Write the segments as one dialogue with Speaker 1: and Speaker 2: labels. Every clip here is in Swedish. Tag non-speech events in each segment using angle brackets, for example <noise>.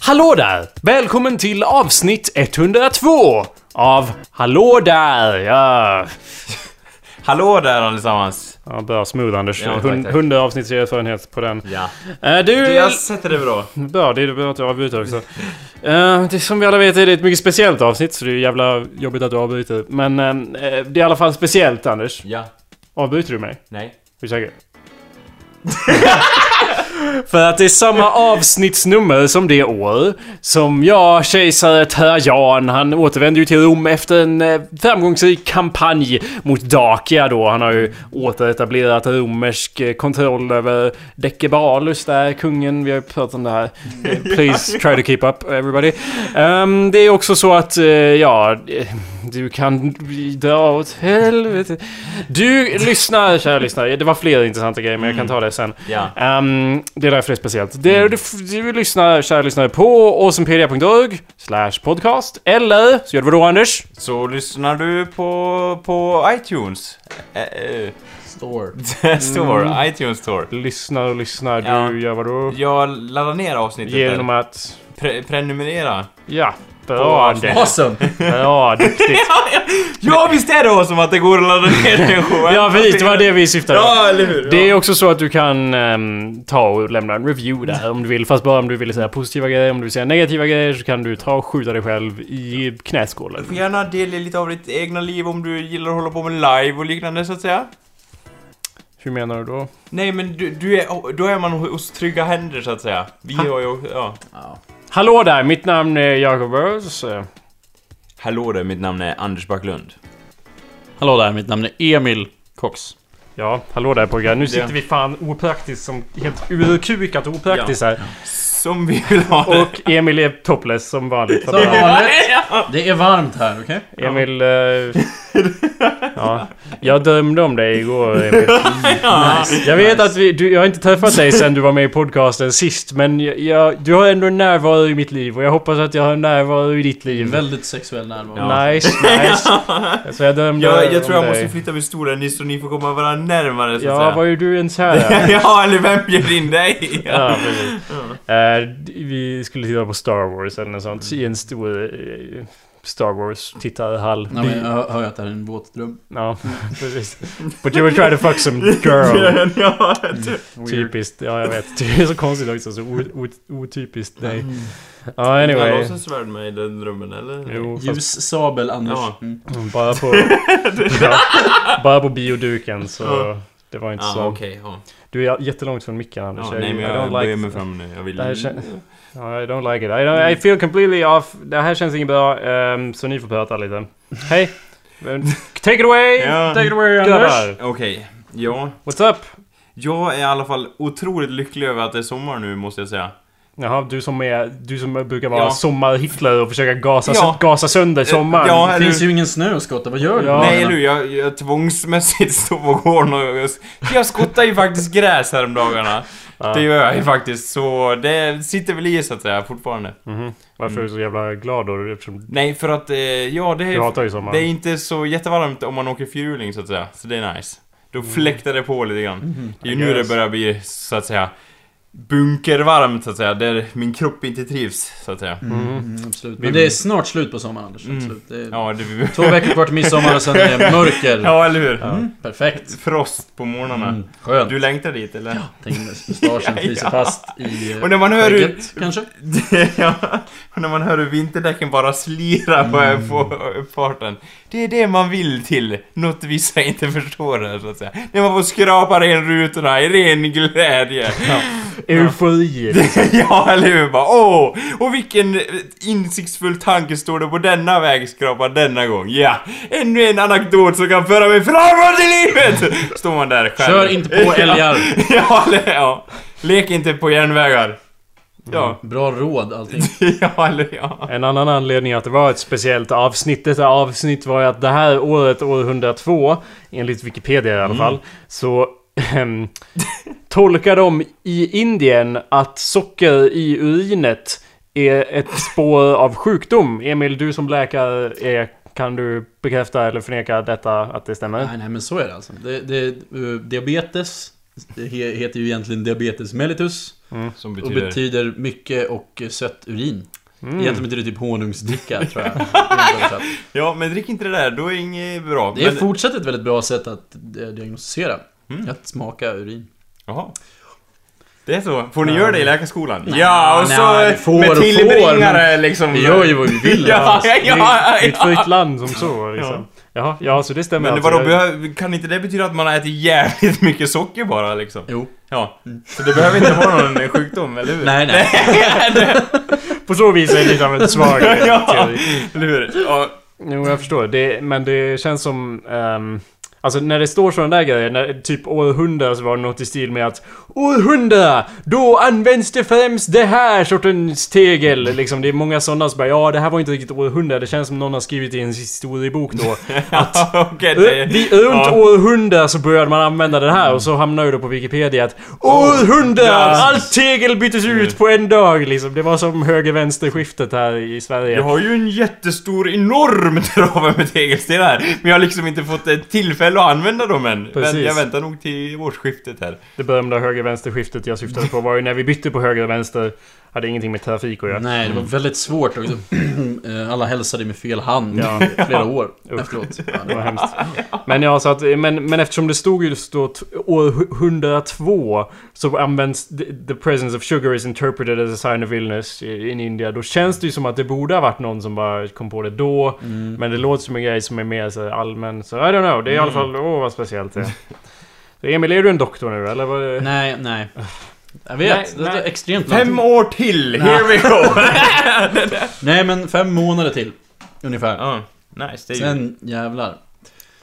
Speaker 1: Hallå där! Välkommen till avsnitt 102 av Hallå där! Ja,
Speaker 2: Hallå där allesammans!
Speaker 1: ja börja smooth Anders.
Speaker 2: Ja, tack,
Speaker 1: Hun-
Speaker 2: tack.
Speaker 1: Hundra avsnitts erfarenhet på den.
Speaker 2: Ja.
Speaker 1: Eh, du,
Speaker 2: Du, jag sätter det bra.
Speaker 1: Bra, det är bra att du avbryter också. Eh, det, som vi alla vet är det ett mycket speciellt avsnitt, så det är jävla jobbigt att du avbryter. Men eh, det är i alla fall speciellt Anders.
Speaker 2: Ja.
Speaker 1: Avbryter du mig?
Speaker 2: Nej.
Speaker 1: Vi säker? <laughs> För att det är samma avsnittsnummer som det år som jag, kejsare Trajan, han återvände ju till Rom efter en eh, framgångsrik kampanj mot Dacia då. Han har ju återetablerat romersk eh, kontroll över Dekebalus där, kungen. Vi har ju pratat om det här. Eh, Please try to keep up everybody. Ehm, det är också så att, eh, ja, eh, du kan dra åt helvete. Du lyssnar, kära lyssnare. Det var fler intressanta grejer, men jag kan ta det sen.
Speaker 2: Ja.
Speaker 1: Ehm, det är därför det är speciellt. Det du, du lyssnar, kära lyssnare, på awesomepedia.org slash podcast. Eller så gör du vad då, Anders?
Speaker 2: Så lyssnar du på, på iTunes? Eh, eh,
Speaker 3: Store.
Speaker 2: <laughs> Store. iTunes Store.
Speaker 1: Lyssnar och lyssnar. Du
Speaker 2: Ja.
Speaker 1: gör vad då?
Speaker 2: Jag laddar ner avsnittet
Speaker 1: Genom
Speaker 2: där.
Speaker 1: att...
Speaker 2: Pre- prenumerera.
Speaker 1: Ja.
Speaker 2: På
Speaker 1: Bra,
Speaker 2: avsnitt.
Speaker 1: Anders.
Speaker 3: Awesome!
Speaker 1: Bra, duktigt.
Speaker 2: <laughs> Ja, ja. ja, visst är det som att det går att ladda ner den
Speaker 1: <laughs>
Speaker 2: showen.
Speaker 1: Ja, precis. Det var det vi syftade på.
Speaker 2: Ja, eller hur?
Speaker 1: Det är
Speaker 2: Ja.
Speaker 1: också så att du kan ehm, ta och lämna en review där om du vill. Fast bara om du vill säga positiva grejer. Om du vill säga negativa grejer så kan du ta och skjuta dig själv i knäskålen.
Speaker 2: Du får gärna delge lite av ditt egna liv om du gillar att hålla på med live och liknande så att säga.
Speaker 1: Hur menar du då?
Speaker 2: Nej men du, du är, då är man hos trygga händer så att säga. Vi har ju också, ja.
Speaker 3: Ja.
Speaker 1: Hallå där, mitt namn är Jacob Burrows. Eh,
Speaker 2: Hallå där, mitt namn är Anders Backlund.
Speaker 3: Hallå där, mitt namn är Emil Cox.
Speaker 1: Ja, hallå där pojkar. Nu sitter
Speaker 2: Ja.
Speaker 1: vi fan opraktiskt som helt urkukat opraktiskt här.
Speaker 2: Som vi vill ha det.
Speaker 1: Och Emil är topless som vanligt.
Speaker 3: Som vanligt. Det är varmt här, okej?
Speaker 1: Emil... eh, ja. Jag drömde om dig igår Emil.
Speaker 3: Nice.
Speaker 1: Jag vet att vi, du, jag har inte träffat dig sen du var med i podcasten sist men jag, jag, du har ändå en närvaro i mitt liv och jag hoppas att jag har en närvaro i ditt
Speaker 3: En
Speaker 1: liv.
Speaker 3: väldigt sexuell närvaro.
Speaker 1: Nice, nice. Så jag dömde
Speaker 2: Jag, jag tror jag
Speaker 1: om
Speaker 2: måste
Speaker 1: dig.
Speaker 2: flytta min stol här nyss så ni får komma varandra närmare så att
Speaker 1: Ja, var
Speaker 2: säga.
Speaker 1: ju du en kär?
Speaker 2: <laughs> ja, eller vem bjöd in dig? <laughs>
Speaker 1: Ja, precis. Eh, d- vi skulle titta på Star Wars eller något sånt i en stor eh, Star Wars-tittarhall.
Speaker 3: Nej, men jag hör- hör ju att det här är en våt dröm.
Speaker 1: Ja, <laughs> precis. But you were trying to fuck some girl.
Speaker 2: <laughs> ja, du-
Speaker 3: Typ
Speaker 1: Typiskt, ja jag vet. Det är så konstigt också, så o- o- otypiskt dig. Ja,
Speaker 2: Hade
Speaker 1: anyway.
Speaker 2: också svärd med i den drömmen eller?
Speaker 1: Jo, fast
Speaker 3: Ljus sabel, Anders.
Speaker 2: Ja.
Speaker 3: Mm.
Speaker 1: bara på... ja, bara på bioduken så... Det var inte
Speaker 2: Ja,
Speaker 1: så.
Speaker 2: Ah, okej. ja.
Speaker 1: Du är jättelångt från micken Anders.
Speaker 2: Ja,
Speaker 1: Jag-
Speaker 2: Nej men
Speaker 1: I
Speaker 2: jag
Speaker 1: don't
Speaker 2: böjer
Speaker 1: like-
Speaker 2: mig fram nu. Jag vill...
Speaker 1: Det här kän- I don't like it. I, don't, I feel completely off. Det här känns inget bra. ehm, så ni får prata lite. Hej! <laughs> Take it away!
Speaker 2: Ja.
Speaker 1: Take it away Anders!
Speaker 2: Grabbar. Okej. Ja.
Speaker 1: What's up?
Speaker 2: Jag är i alla fall otroligt lycklig över att det är sommar nu måste jag säga.
Speaker 1: Jaha, du som, är, du som brukar vara
Speaker 2: Ja.
Speaker 1: sommar-Hitler och försöka gasa,
Speaker 2: Ja. Eh,
Speaker 1: gasa sönder sommaren.
Speaker 2: Ja,
Speaker 3: Det
Speaker 2: eller-
Speaker 3: finns ju ingen snö att skotta, vad gör du? Mm,
Speaker 1: Ja.
Speaker 2: Nej du, jag, jag tvångsmässigt <laughs> står på gården och jag, jag skottar ju faktiskt gräs häromdagarna. Det gör jag ju faktiskt, så det sitter väl i så att säga fortfarande.
Speaker 1: Mhm. Varför är du så jävla glad då? Eftersom
Speaker 2: Nej, för att, eh, ja det
Speaker 1: du
Speaker 2: är,
Speaker 1: hatar ju sommaren.
Speaker 2: det är inte så jättevarmt om man åker fyrhjuling så att säga, så det är nice. Då
Speaker 3: Mm.
Speaker 2: fläktar det på lite grann. Det är ju
Speaker 1: I
Speaker 2: nu det
Speaker 1: guess.
Speaker 2: börjar bli, så att säga, bunkervarmt så att säga, där min kropp inte trivs så att säga.
Speaker 3: Mm,
Speaker 1: Mhm.
Speaker 3: mm, absolut. Men det är snart slut på sommaren, Anders.
Speaker 2: Mm.
Speaker 3: Absolut. Det är
Speaker 2: Ja, det... <laughs>
Speaker 3: Två veckor kvar till midsommar och sen är det mörker.
Speaker 2: ja eller hur?
Speaker 3: Mm, perfekt.
Speaker 2: Frost på morgnarna.
Speaker 3: Mm, skönt.
Speaker 2: Du längtar dit eller?
Speaker 3: Tänk om mustaschen
Speaker 2: <laughs>
Speaker 3: fryser
Speaker 2: Ja.
Speaker 3: fast i... eh,
Speaker 2: Och när man hör hur-
Speaker 3: skägget, kanske?
Speaker 2: <laughs> ja, och när man hör hur vinterdäcken bara slirar på,
Speaker 3: Mm.
Speaker 2: på uppfarten. Det är det man vill till, något vissa inte förstår här, så att säga. När man får skrapa ren rutorna i ren
Speaker 3: <laughs>
Speaker 2: glädje.
Speaker 1: Eufori!
Speaker 2: <laughs> ja, eller hur? Bara, åh! Och vilken insiktsfull tanke står det på denna vägskrapa denna gång. Ja, ännu en anekdot som kan föra mig framåt i
Speaker 3: <laughs>
Speaker 2: livet! Står man där själv.
Speaker 3: Kör inte
Speaker 2: <laughs>
Speaker 3: på älgar!
Speaker 2: ja, eller, ja. Lek inte på järnvägar. Ja,
Speaker 3: Bra råd allting.
Speaker 2: <laughs> ja, eller ja.
Speaker 1: En annan anledning att det var ett speciellt avsnitt, detta avsnitt var ju att det här året, år 102, enligt Wikipedia i alla fall, så ehm, tolkar de i Indien att socker i urinet är ett spår av sjukdom. Emil, du som läkare, är, kan du bekräfta eller förneka detta, att det stämmer?
Speaker 3: Nej, nej men så är det alltså. Det, det, eh, diabetes det he- heter ju egentligen diabetes mellitus.
Speaker 2: Som
Speaker 3: Och
Speaker 2: betyder...
Speaker 3: betyder mycket och sött urin. Egentligen betyder det typ honungsdricka tror jag. Översatt.
Speaker 2: Ja, men drick inte det där, då är inget bra.
Speaker 3: Det är
Speaker 2: men...
Speaker 3: fortsatt ett väldigt bra sätt att eh, diagnostisera. Att smaka urin.
Speaker 2: Jaha. Det är så? Får ni göra det i läkarskolan? ja,
Speaker 3: Nej,
Speaker 2: och
Speaker 3: nej,
Speaker 2: så
Speaker 3: får och
Speaker 2: med
Speaker 3: får,
Speaker 2: tillbringare liksom.
Speaker 3: Vi gör ju vad vi vill.
Speaker 2: ja,
Speaker 1: <laughs>
Speaker 3: alltså.
Speaker 2: ja, ja,
Speaker 1: Det är ett fritt land som så liksom. Jaha, ja så det stämmer
Speaker 2: Men
Speaker 1: alltså.
Speaker 2: vadå,
Speaker 1: Jag-
Speaker 2: behöver- kan inte det betyda att man har ätit jävligt <laughs> mycket socker bara liksom?
Speaker 3: Jo.
Speaker 2: Ja. Så det behöver inte vara någon sjukdom, eller hur?
Speaker 3: Nej, nej.
Speaker 1: På så vis är det liksom ett
Speaker 2: <laughs>
Speaker 1: svagare teori.
Speaker 2: Eller hur?
Speaker 3: <laughs>
Speaker 2: Ja.
Speaker 1: Jo, jag förstår. Det, men det känns som... ehm, alltså när det står sådana där grejer, när, typ århundra så var det något i stil med att århundra! Då används det främst det här sortens tegel. Liksom, det är många sådana som bara ja, det här var inte riktigt århundra. Det känns som någon har skrivit i en historiebok
Speaker 2: <laughs>
Speaker 1: då.
Speaker 2: Okej,
Speaker 1: Ö,
Speaker 2: det...
Speaker 1: Vid runt
Speaker 2: ja.
Speaker 1: århundra så började man använda det här och så hamnade det på Wikipedia att århundra!
Speaker 2: Ja.
Speaker 1: Allt tegel byttes ut på en dag liksom. Det var som höger-vänster-skiftet här i Sverige.
Speaker 2: Jag har ju en jättestor, enorm <laughs> trave med tegelstenar. Men jag har liksom inte fått ett tillfälle att använda dem än. Men
Speaker 1: Precis.
Speaker 2: jag väntar nog till årsskiftet här.
Speaker 1: Det berömda höger-vänster-skiftet jag syftade på var ju när vi bytte på höger och vänster. Hade ingenting med trafik att göra.
Speaker 3: Nej, det var väldigt svårt också. <clears throat> Eh, Alla hälsade med fel hand
Speaker 1: Ja.
Speaker 3: i flera år
Speaker 1: Usch.
Speaker 3: efteråt. <laughs> Ja,
Speaker 1: Det
Speaker 3: det-
Speaker 1: var hemskt. Men ja, så att, men, men eftersom det stod just då t- år 102 så används the, the presence of sugar is interpreted as a sign of illness i- in India. Då känns det ju som att det borde ha varit någon som bara kom på det då.
Speaker 3: Mm.
Speaker 1: Men det låter som en grej som är mer så här allmän. Så I don't know. Det är i alla
Speaker 3: Mm.
Speaker 1: fall, åh vad speciellt det är. Så Emil, är du en doktor nu eller? Vad är det?
Speaker 3: Nej, nej. Jag
Speaker 1: Nej,
Speaker 3: vet, det
Speaker 1: nej.
Speaker 3: är extremt långt.
Speaker 2: Fem år till! Here we <laughs> go!
Speaker 3: Nej, men fem månader till. Ungefär.
Speaker 2: Ja, nice. Det är ju...
Speaker 3: Sen jävlar.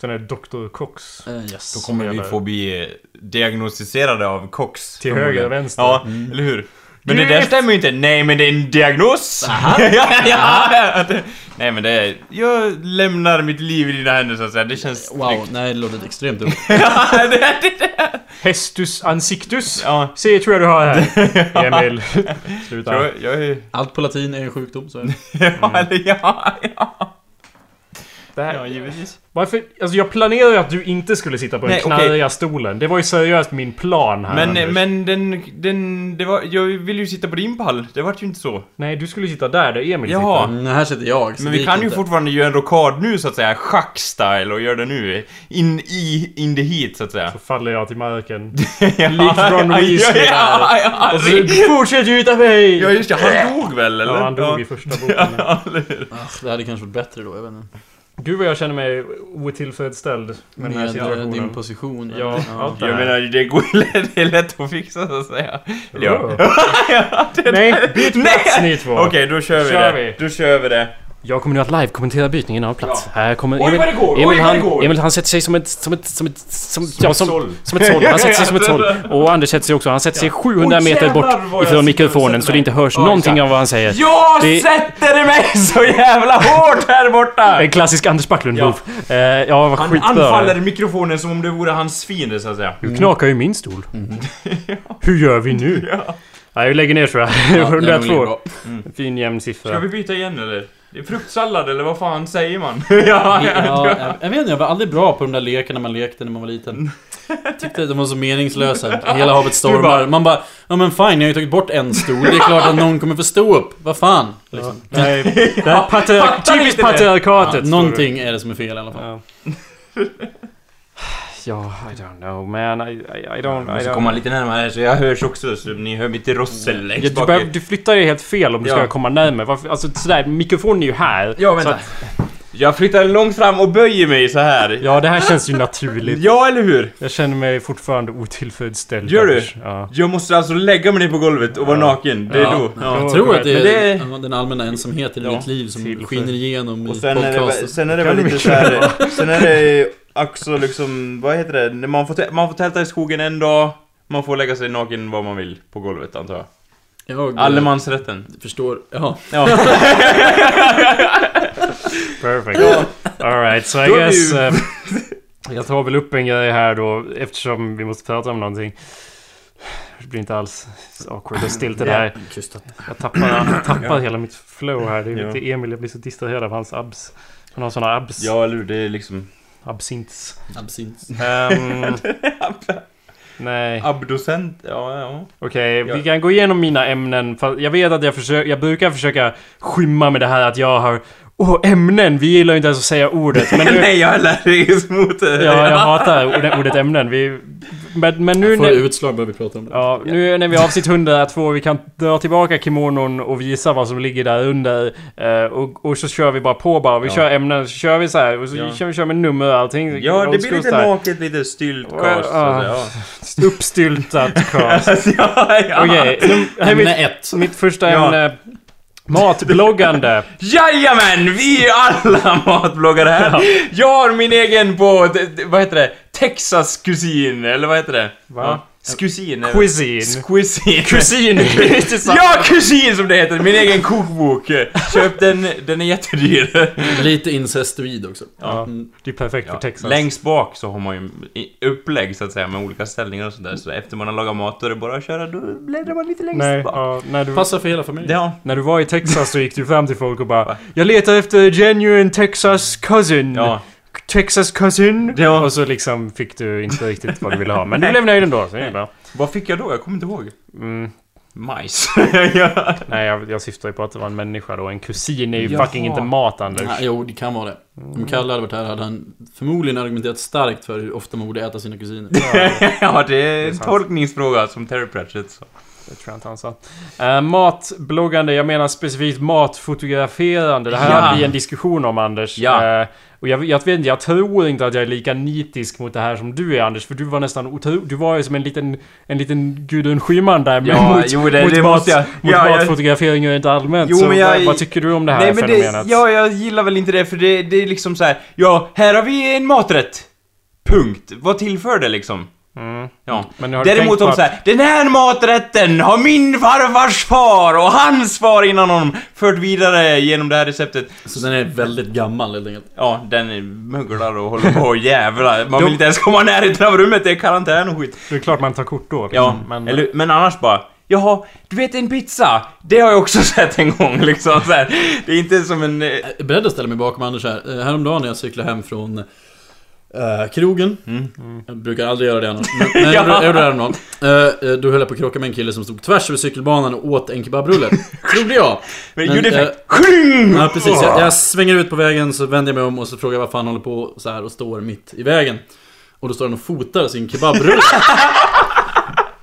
Speaker 1: Sen är det doktor Cox.
Speaker 3: Eh, Yes.
Speaker 2: Då kommer vi få bli eh, diagnostiserade av Cox.
Speaker 1: Till höger och vänster.
Speaker 2: Ja,
Speaker 3: Mm.
Speaker 2: eller hur? Men
Speaker 1: Du
Speaker 2: det där
Speaker 1: vet-
Speaker 2: stämmer ju inte. Nej, men det är en diagnos!
Speaker 3: Aha.
Speaker 2: <laughs> ja, ja, att det- Nej, men det är... Jag lämnar mitt liv i dina händer så att säga. Det känns
Speaker 3: Wow,
Speaker 2: tryggt. <laughs>
Speaker 3: nej det låter extremt dumt.
Speaker 2: Ja, det- det-
Speaker 1: Hestus ansiktus.
Speaker 2: ja.
Speaker 1: Se, tror jag du har
Speaker 3: <laughs>
Speaker 1: här. Emil. Sluta.
Speaker 2: Jag, jag är... <laughs>
Speaker 3: Allt på latin är en sjukdom, så är det.
Speaker 2: Ja, eller ja, ja.
Speaker 1: Det här,
Speaker 2: Mm. Ja, givetvis.
Speaker 1: Varför? Alltså jag planerade ju att du inte skulle sitta på den
Speaker 2: Nej, okej.
Speaker 1: knarriga stolen. Det var ju seriöst min plan här.
Speaker 2: Men, eh,
Speaker 1: Anders.
Speaker 2: men den, den, det var, jag ville ju sitta på din pall, det vart ju inte så.
Speaker 1: Nej, du skulle sitta där, där Emil
Speaker 2: <laughs> Jaha.
Speaker 1: sitter.
Speaker 3: Mm, här sitter jag. så
Speaker 2: Men
Speaker 3: det
Speaker 2: vi
Speaker 3: gick
Speaker 2: kan ju
Speaker 3: inte.
Speaker 2: fortfarande göra en rockad nu så att säga, schack-style och göra det nu. In i, in the heat så att säga.
Speaker 1: Så faller jag till marken.
Speaker 2: Ja,
Speaker 1: Likt Ron Weasley
Speaker 2: ja, ja,
Speaker 1: Och så fortsätt ut av mig!
Speaker 2: <laughs> ja, just det, han dog väl eller?
Speaker 1: Ja, han
Speaker 2: <laughs>
Speaker 1: dog i första boken.
Speaker 2: Ja, eller hur?
Speaker 3: Ah, Det hade kanske varit bättre då, jag vet inte.
Speaker 1: Gud vad jag känner mig otillfredsställd med den här
Speaker 3: Med eh, din
Speaker 1: situationen.
Speaker 3: position.
Speaker 1: Ja, allt det
Speaker 2: Jag
Speaker 1: här.
Speaker 2: menar, det, går, det är lätt att fixa så att säga.
Speaker 1: <laughs>
Speaker 2: Eller <laughs> ja.
Speaker 1: Nej, byt plats ni två!
Speaker 2: Okej, då Oh. kör vi
Speaker 1: Kör
Speaker 2: det.
Speaker 1: vi.
Speaker 2: Då kör vi det.
Speaker 1: Jag kommer nu att live kommentera bytningen av plats. Här kommer
Speaker 2: Oj,
Speaker 1: Emil.
Speaker 2: vad det går, oj,
Speaker 1: Emil,
Speaker 2: vad det
Speaker 1: han,
Speaker 2: går.
Speaker 1: Emil han sätter sig som ett... Som ett... Som ett... Som, ja, som,
Speaker 2: såll.
Speaker 1: som ett såll. Han sätter sig som ett
Speaker 2: <laughs>
Speaker 1: såll. Och Anders sätter sig också. Han sätter sig 700
Speaker 2: Oj,
Speaker 1: meter
Speaker 2: jävlar vad jag
Speaker 1: bort
Speaker 2: sitter och
Speaker 1: ifrån mikrofonen
Speaker 2: sätter
Speaker 1: så det inte hörs
Speaker 2: mig. Ja,
Speaker 1: någonting
Speaker 2: exakt.
Speaker 1: av vad han säger.
Speaker 2: Jag
Speaker 1: Det-
Speaker 2: sätter mig så jävla hårt här borta!
Speaker 1: En klassisk Anders Backlund-move. Ja. ja, vad
Speaker 2: Han
Speaker 1: skitbra.
Speaker 2: anfaller mikrofonen som om det vore hans fiende så att säga.
Speaker 1: Du knakar ju i min stol.
Speaker 2: Mm. <laughs>
Speaker 1: Hur gör vi nu? Nej, vi lägger ner tror <laughs> jag.
Speaker 3: Ja, det är nog
Speaker 1: 102.
Speaker 3: bra.
Speaker 1: Fin jämn
Speaker 2: Ska
Speaker 1: siffra.
Speaker 2: vi byta igen eller? Det är fruktsallad eller vad fan säger man? <laughs> ja,
Speaker 3: Ja, jag, jag vet inte, jag var aldrig bra på de där lekarna man lekte när man var liten. Tyckte att de var så meningslösa. Hela havet
Speaker 2: Du
Speaker 3: stormar.
Speaker 2: bara-
Speaker 3: Man bara, ja men fine, jag har ju tagit bort en stol. Det är klart att någon kommer få stå upp. Vad fan? Liksom.
Speaker 1: Nej,
Speaker 2: <laughs>
Speaker 1: det här patriark-
Speaker 2: fattar ni
Speaker 1: typiskt
Speaker 2: inte det?
Speaker 1: patriarkatet. står det.
Speaker 3: Någonting är det som är fel i alla fall.
Speaker 1: Ja. ja, I don't know man. I, I, I don't... I
Speaker 2: Jag ska
Speaker 1: don't
Speaker 2: komma lite närmare så jag hörs också så ni hör mitt rossel
Speaker 1: Ja,
Speaker 2: längst
Speaker 1: du,
Speaker 2: bak.
Speaker 1: behöver, du flyttar ju helt fel om du ska
Speaker 2: Ja.
Speaker 1: komma närmare. Varför, alltså sådär, mikrofonen är ju här.
Speaker 2: Ja, vänta.
Speaker 1: Så att,
Speaker 2: Jag flyttar långt fram och böjer mig så här. Ja,
Speaker 1: ja, det här känns ju naturligt.
Speaker 2: eller hur?
Speaker 1: Jag känner mig fortfarande otillfredsställd.
Speaker 2: Gör du?
Speaker 1: Anders. Ja.
Speaker 2: Jag måste alltså lägga mig ner på golvet och vara naken. Det är
Speaker 3: Ja,
Speaker 2: då.
Speaker 3: ja,
Speaker 1: Ja,
Speaker 3: jag tror att det
Speaker 1: men
Speaker 3: är
Speaker 2: det-
Speaker 3: ja, den allmänna ensamheten i
Speaker 2: Ja,
Speaker 3: mitt liv som
Speaker 1: till-
Speaker 3: skiner igenom
Speaker 2: Och
Speaker 3: i
Speaker 2: sen är, det, väl-
Speaker 3: podcasten.
Speaker 2: sen är det
Speaker 1: Kan
Speaker 2: väl
Speaker 1: du
Speaker 2: lite
Speaker 1: mycket
Speaker 2: såhär... Sen är det också liksom... Vad heter det? När Man får, tä- man får tälta i skogen en dag. Man får lägga sig naken var man vill på golvet antar jag.
Speaker 3: Jag eh,
Speaker 2: Allemansrätten.
Speaker 3: förstår. Ja.
Speaker 2: Ja. <laughs>
Speaker 1: Perfect. Alright, so I
Speaker 2: Då är vi
Speaker 1: guess...
Speaker 2: ju-
Speaker 1: eh, jag tar väl upp en grej här då eftersom vi måste prata om någonting. Det blir inte alls awkward och stilt det där.
Speaker 3: Kustat.
Speaker 1: Jag tappar, jag tappar hela mitt flow här. Det är
Speaker 2: Ja.
Speaker 1: lite Emil, jag blir så distraherad av hans abs. Han har såna abs.
Speaker 2: <laughs> ja, eller hur? Det är liksom... <laughs>
Speaker 1: Absints.
Speaker 3: Absint.
Speaker 1: Ehm, Nej.
Speaker 2: Abdocent, ja, ja.
Speaker 1: Okej,
Speaker 2: Ja.
Speaker 1: vi kan gå igenom mina ämnen. För jag vet att jag, försöker, jag brukar försöka skymma med det här att jag har... Åh, ämnen! Vi gillar ju inte ens att säga ordet. Men nu,
Speaker 2: <laughs> Nej, jag är allergisk mot det.
Speaker 1: ja,
Speaker 2: <laughs>
Speaker 1: jag hatar ord- ordet ämnen. Vi, men, men nu...
Speaker 3: Får
Speaker 1: när-
Speaker 3: utslag börjar vi prata om det.
Speaker 1: Ja, nu när vi har avsnitt 102, vi kan dra tillbaka kimonon och visa vad som ligger där under. eh, och, och så kör vi bara på bara. Vi
Speaker 3: Ja.
Speaker 1: kör ämnen, så kör vi så här. Och så
Speaker 2: Ja.
Speaker 1: kör vi kör med nummer och allting.
Speaker 2: Ja, det
Speaker 1: Old
Speaker 2: blir
Speaker 1: school
Speaker 2: lite
Speaker 1: style. uh.
Speaker 2: naket, lite styltcast. så
Speaker 1: Ja.
Speaker 2: det, ja. <laughs>
Speaker 1: Uppstyltat cast. <laughs>
Speaker 2: ja, ja.
Speaker 1: Okej, nu- här är
Speaker 3: Ämne
Speaker 1: mitt,
Speaker 3: ett.
Speaker 1: mitt första
Speaker 2: Ja.
Speaker 1: ämne.
Speaker 2: <laughs>
Speaker 1: Matbloggande.
Speaker 2: Jajamän! Vi är alla <laughs> matbloggare här. Jag har min egen på, d- d- vad heter det? Texas kusin, eller vad heter det?
Speaker 1: Va?
Speaker 2: Ja. Skusin? eller-
Speaker 1: Cuisine.
Speaker 2: Squisin.
Speaker 1: Kusin.
Speaker 2: <laughs> Ja, kusin som det heter! Min egen kokbok! Köp den, den
Speaker 1: <laughs>
Speaker 2: är jättedyr.
Speaker 3: Lite incestuid också.
Speaker 1: Ja, det är perfekt för
Speaker 2: Ja,
Speaker 1: Texas.
Speaker 2: Längst bak så har man ju i- upplägg så att säga med olika ställningar och sådär. Så efter man har lagat mat då är det bara att köra, då bläddrar man lite längst
Speaker 1: Nej,
Speaker 2: bak.
Speaker 1: ja, när du...
Speaker 3: Passar för hela familjen.
Speaker 2: Ja.
Speaker 1: När du var i Texas så gick du fram till folk och bara
Speaker 2: Va?
Speaker 1: Jag letar efter genuine Texas cousin.
Speaker 2: Ja.
Speaker 1: Texas cousin.
Speaker 2: Ja.
Speaker 1: Och så liksom fick du inte riktigt vad du ville ha. Men du blev nöjd ändå. Så det är bra.
Speaker 2: Vad fick jag då? Jag kommer inte ihåg.
Speaker 1: Mm.
Speaker 2: Majs. <laughs> ja.
Speaker 1: Nej, jag, jag syftar ju på att det var en människa då. En kusin är ju
Speaker 2: Jaha.
Speaker 1: fucking inte mat, Anders.
Speaker 3: Nej, jo, det kan vara det.
Speaker 2: Mm.
Speaker 3: Om Kalle hade varit här hade han förmodligen argumenterat starkt för hur ofta man borde äta sina kusiner.
Speaker 2: ja, det är en
Speaker 1: sant.
Speaker 2: tolkningsfråga som Terry Pratchett sa.
Speaker 1: Det tror jag inte han sa. Eh, matbloggande, jag menar specifikt matfotograferande. Det här
Speaker 2: Ja.
Speaker 1: hade vi en diskussion om Anders.
Speaker 2: Ja.
Speaker 1: Eh, och jag, jag, vet, inte, jag tror inte att jag är lika nitisk mot det här som du är Anders. För du var nästan otro, Du var ju som en liten, en liten Gudrun Schyman där. men
Speaker 2: Ja,
Speaker 1: mot,
Speaker 2: jo, det-
Speaker 1: mot
Speaker 2: det
Speaker 1: mat,
Speaker 2: måste jag-
Speaker 1: Mot
Speaker 2: ja, jag-
Speaker 1: matfotografering rent allmänt.
Speaker 2: Jo,
Speaker 1: så
Speaker 2: men jag-
Speaker 1: vad, vad tycker du om det här
Speaker 2: Nej men det,
Speaker 1: fenomenet?
Speaker 2: ja, jag gillar väl inte det för det, det är liksom så här. ja, här har vi en maträtt. Punkt. Vad tillför det liksom?
Speaker 1: Mm.
Speaker 2: Ja.
Speaker 1: Men har du tänkt
Speaker 2: Däremot
Speaker 1: på
Speaker 2: om
Speaker 1: att-
Speaker 2: såhär, den här maträtten har min farfars far och hans far innan honom fört vidare genom det här receptet.
Speaker 3: Så den är väldigt gammal helt enkelt.
Speaker 2: Ja, den är- möglar och håller på och jävlar. Man vill inte ens komma i närheten av rummet, det är karantän och skit.
Speaker 1: Det är klart man tar kort då. liksom.
Speaker 2: Ja,
Speaker 1: men,
Speaker 2: eller, men annars bara. Jaha, du vet en pizza? Det har jag också <laughs> sett en gång liksom så här. Det är inte som en... eh,
Speaker 3: Jag är beredd att ställa mig bakom Anders här. Eh, Häromdagen när jag cyklade hem från eh, krogen.
Speaker 2: Mm.
Speaker 3: Jag brukar aldrig göra det annars.
Speaker 2: <laughs>
Speaker 3: Men, men jag, gjorde- jag gjorde det häromdagen. Eh, eh, då höll jag på att krocka med en kille som stod tvärs över cykelbanan och åt
Speaker 2: <laughs>
Speaker 3: en kebabrulle. Trodde jag.
Speaker 2: Men
Speaker 3: Men,
Speaker 2: ljudeffekt.
Speaker 3: Ja precis, jag, jag svänger ut på vägen så vänder jag mig om och så frågar jag vad fan han håller på så här och står mitt i vägen. Och då står han och fotar
Speaker 2: <laughs>
Speaker 3: sin kebabrulle.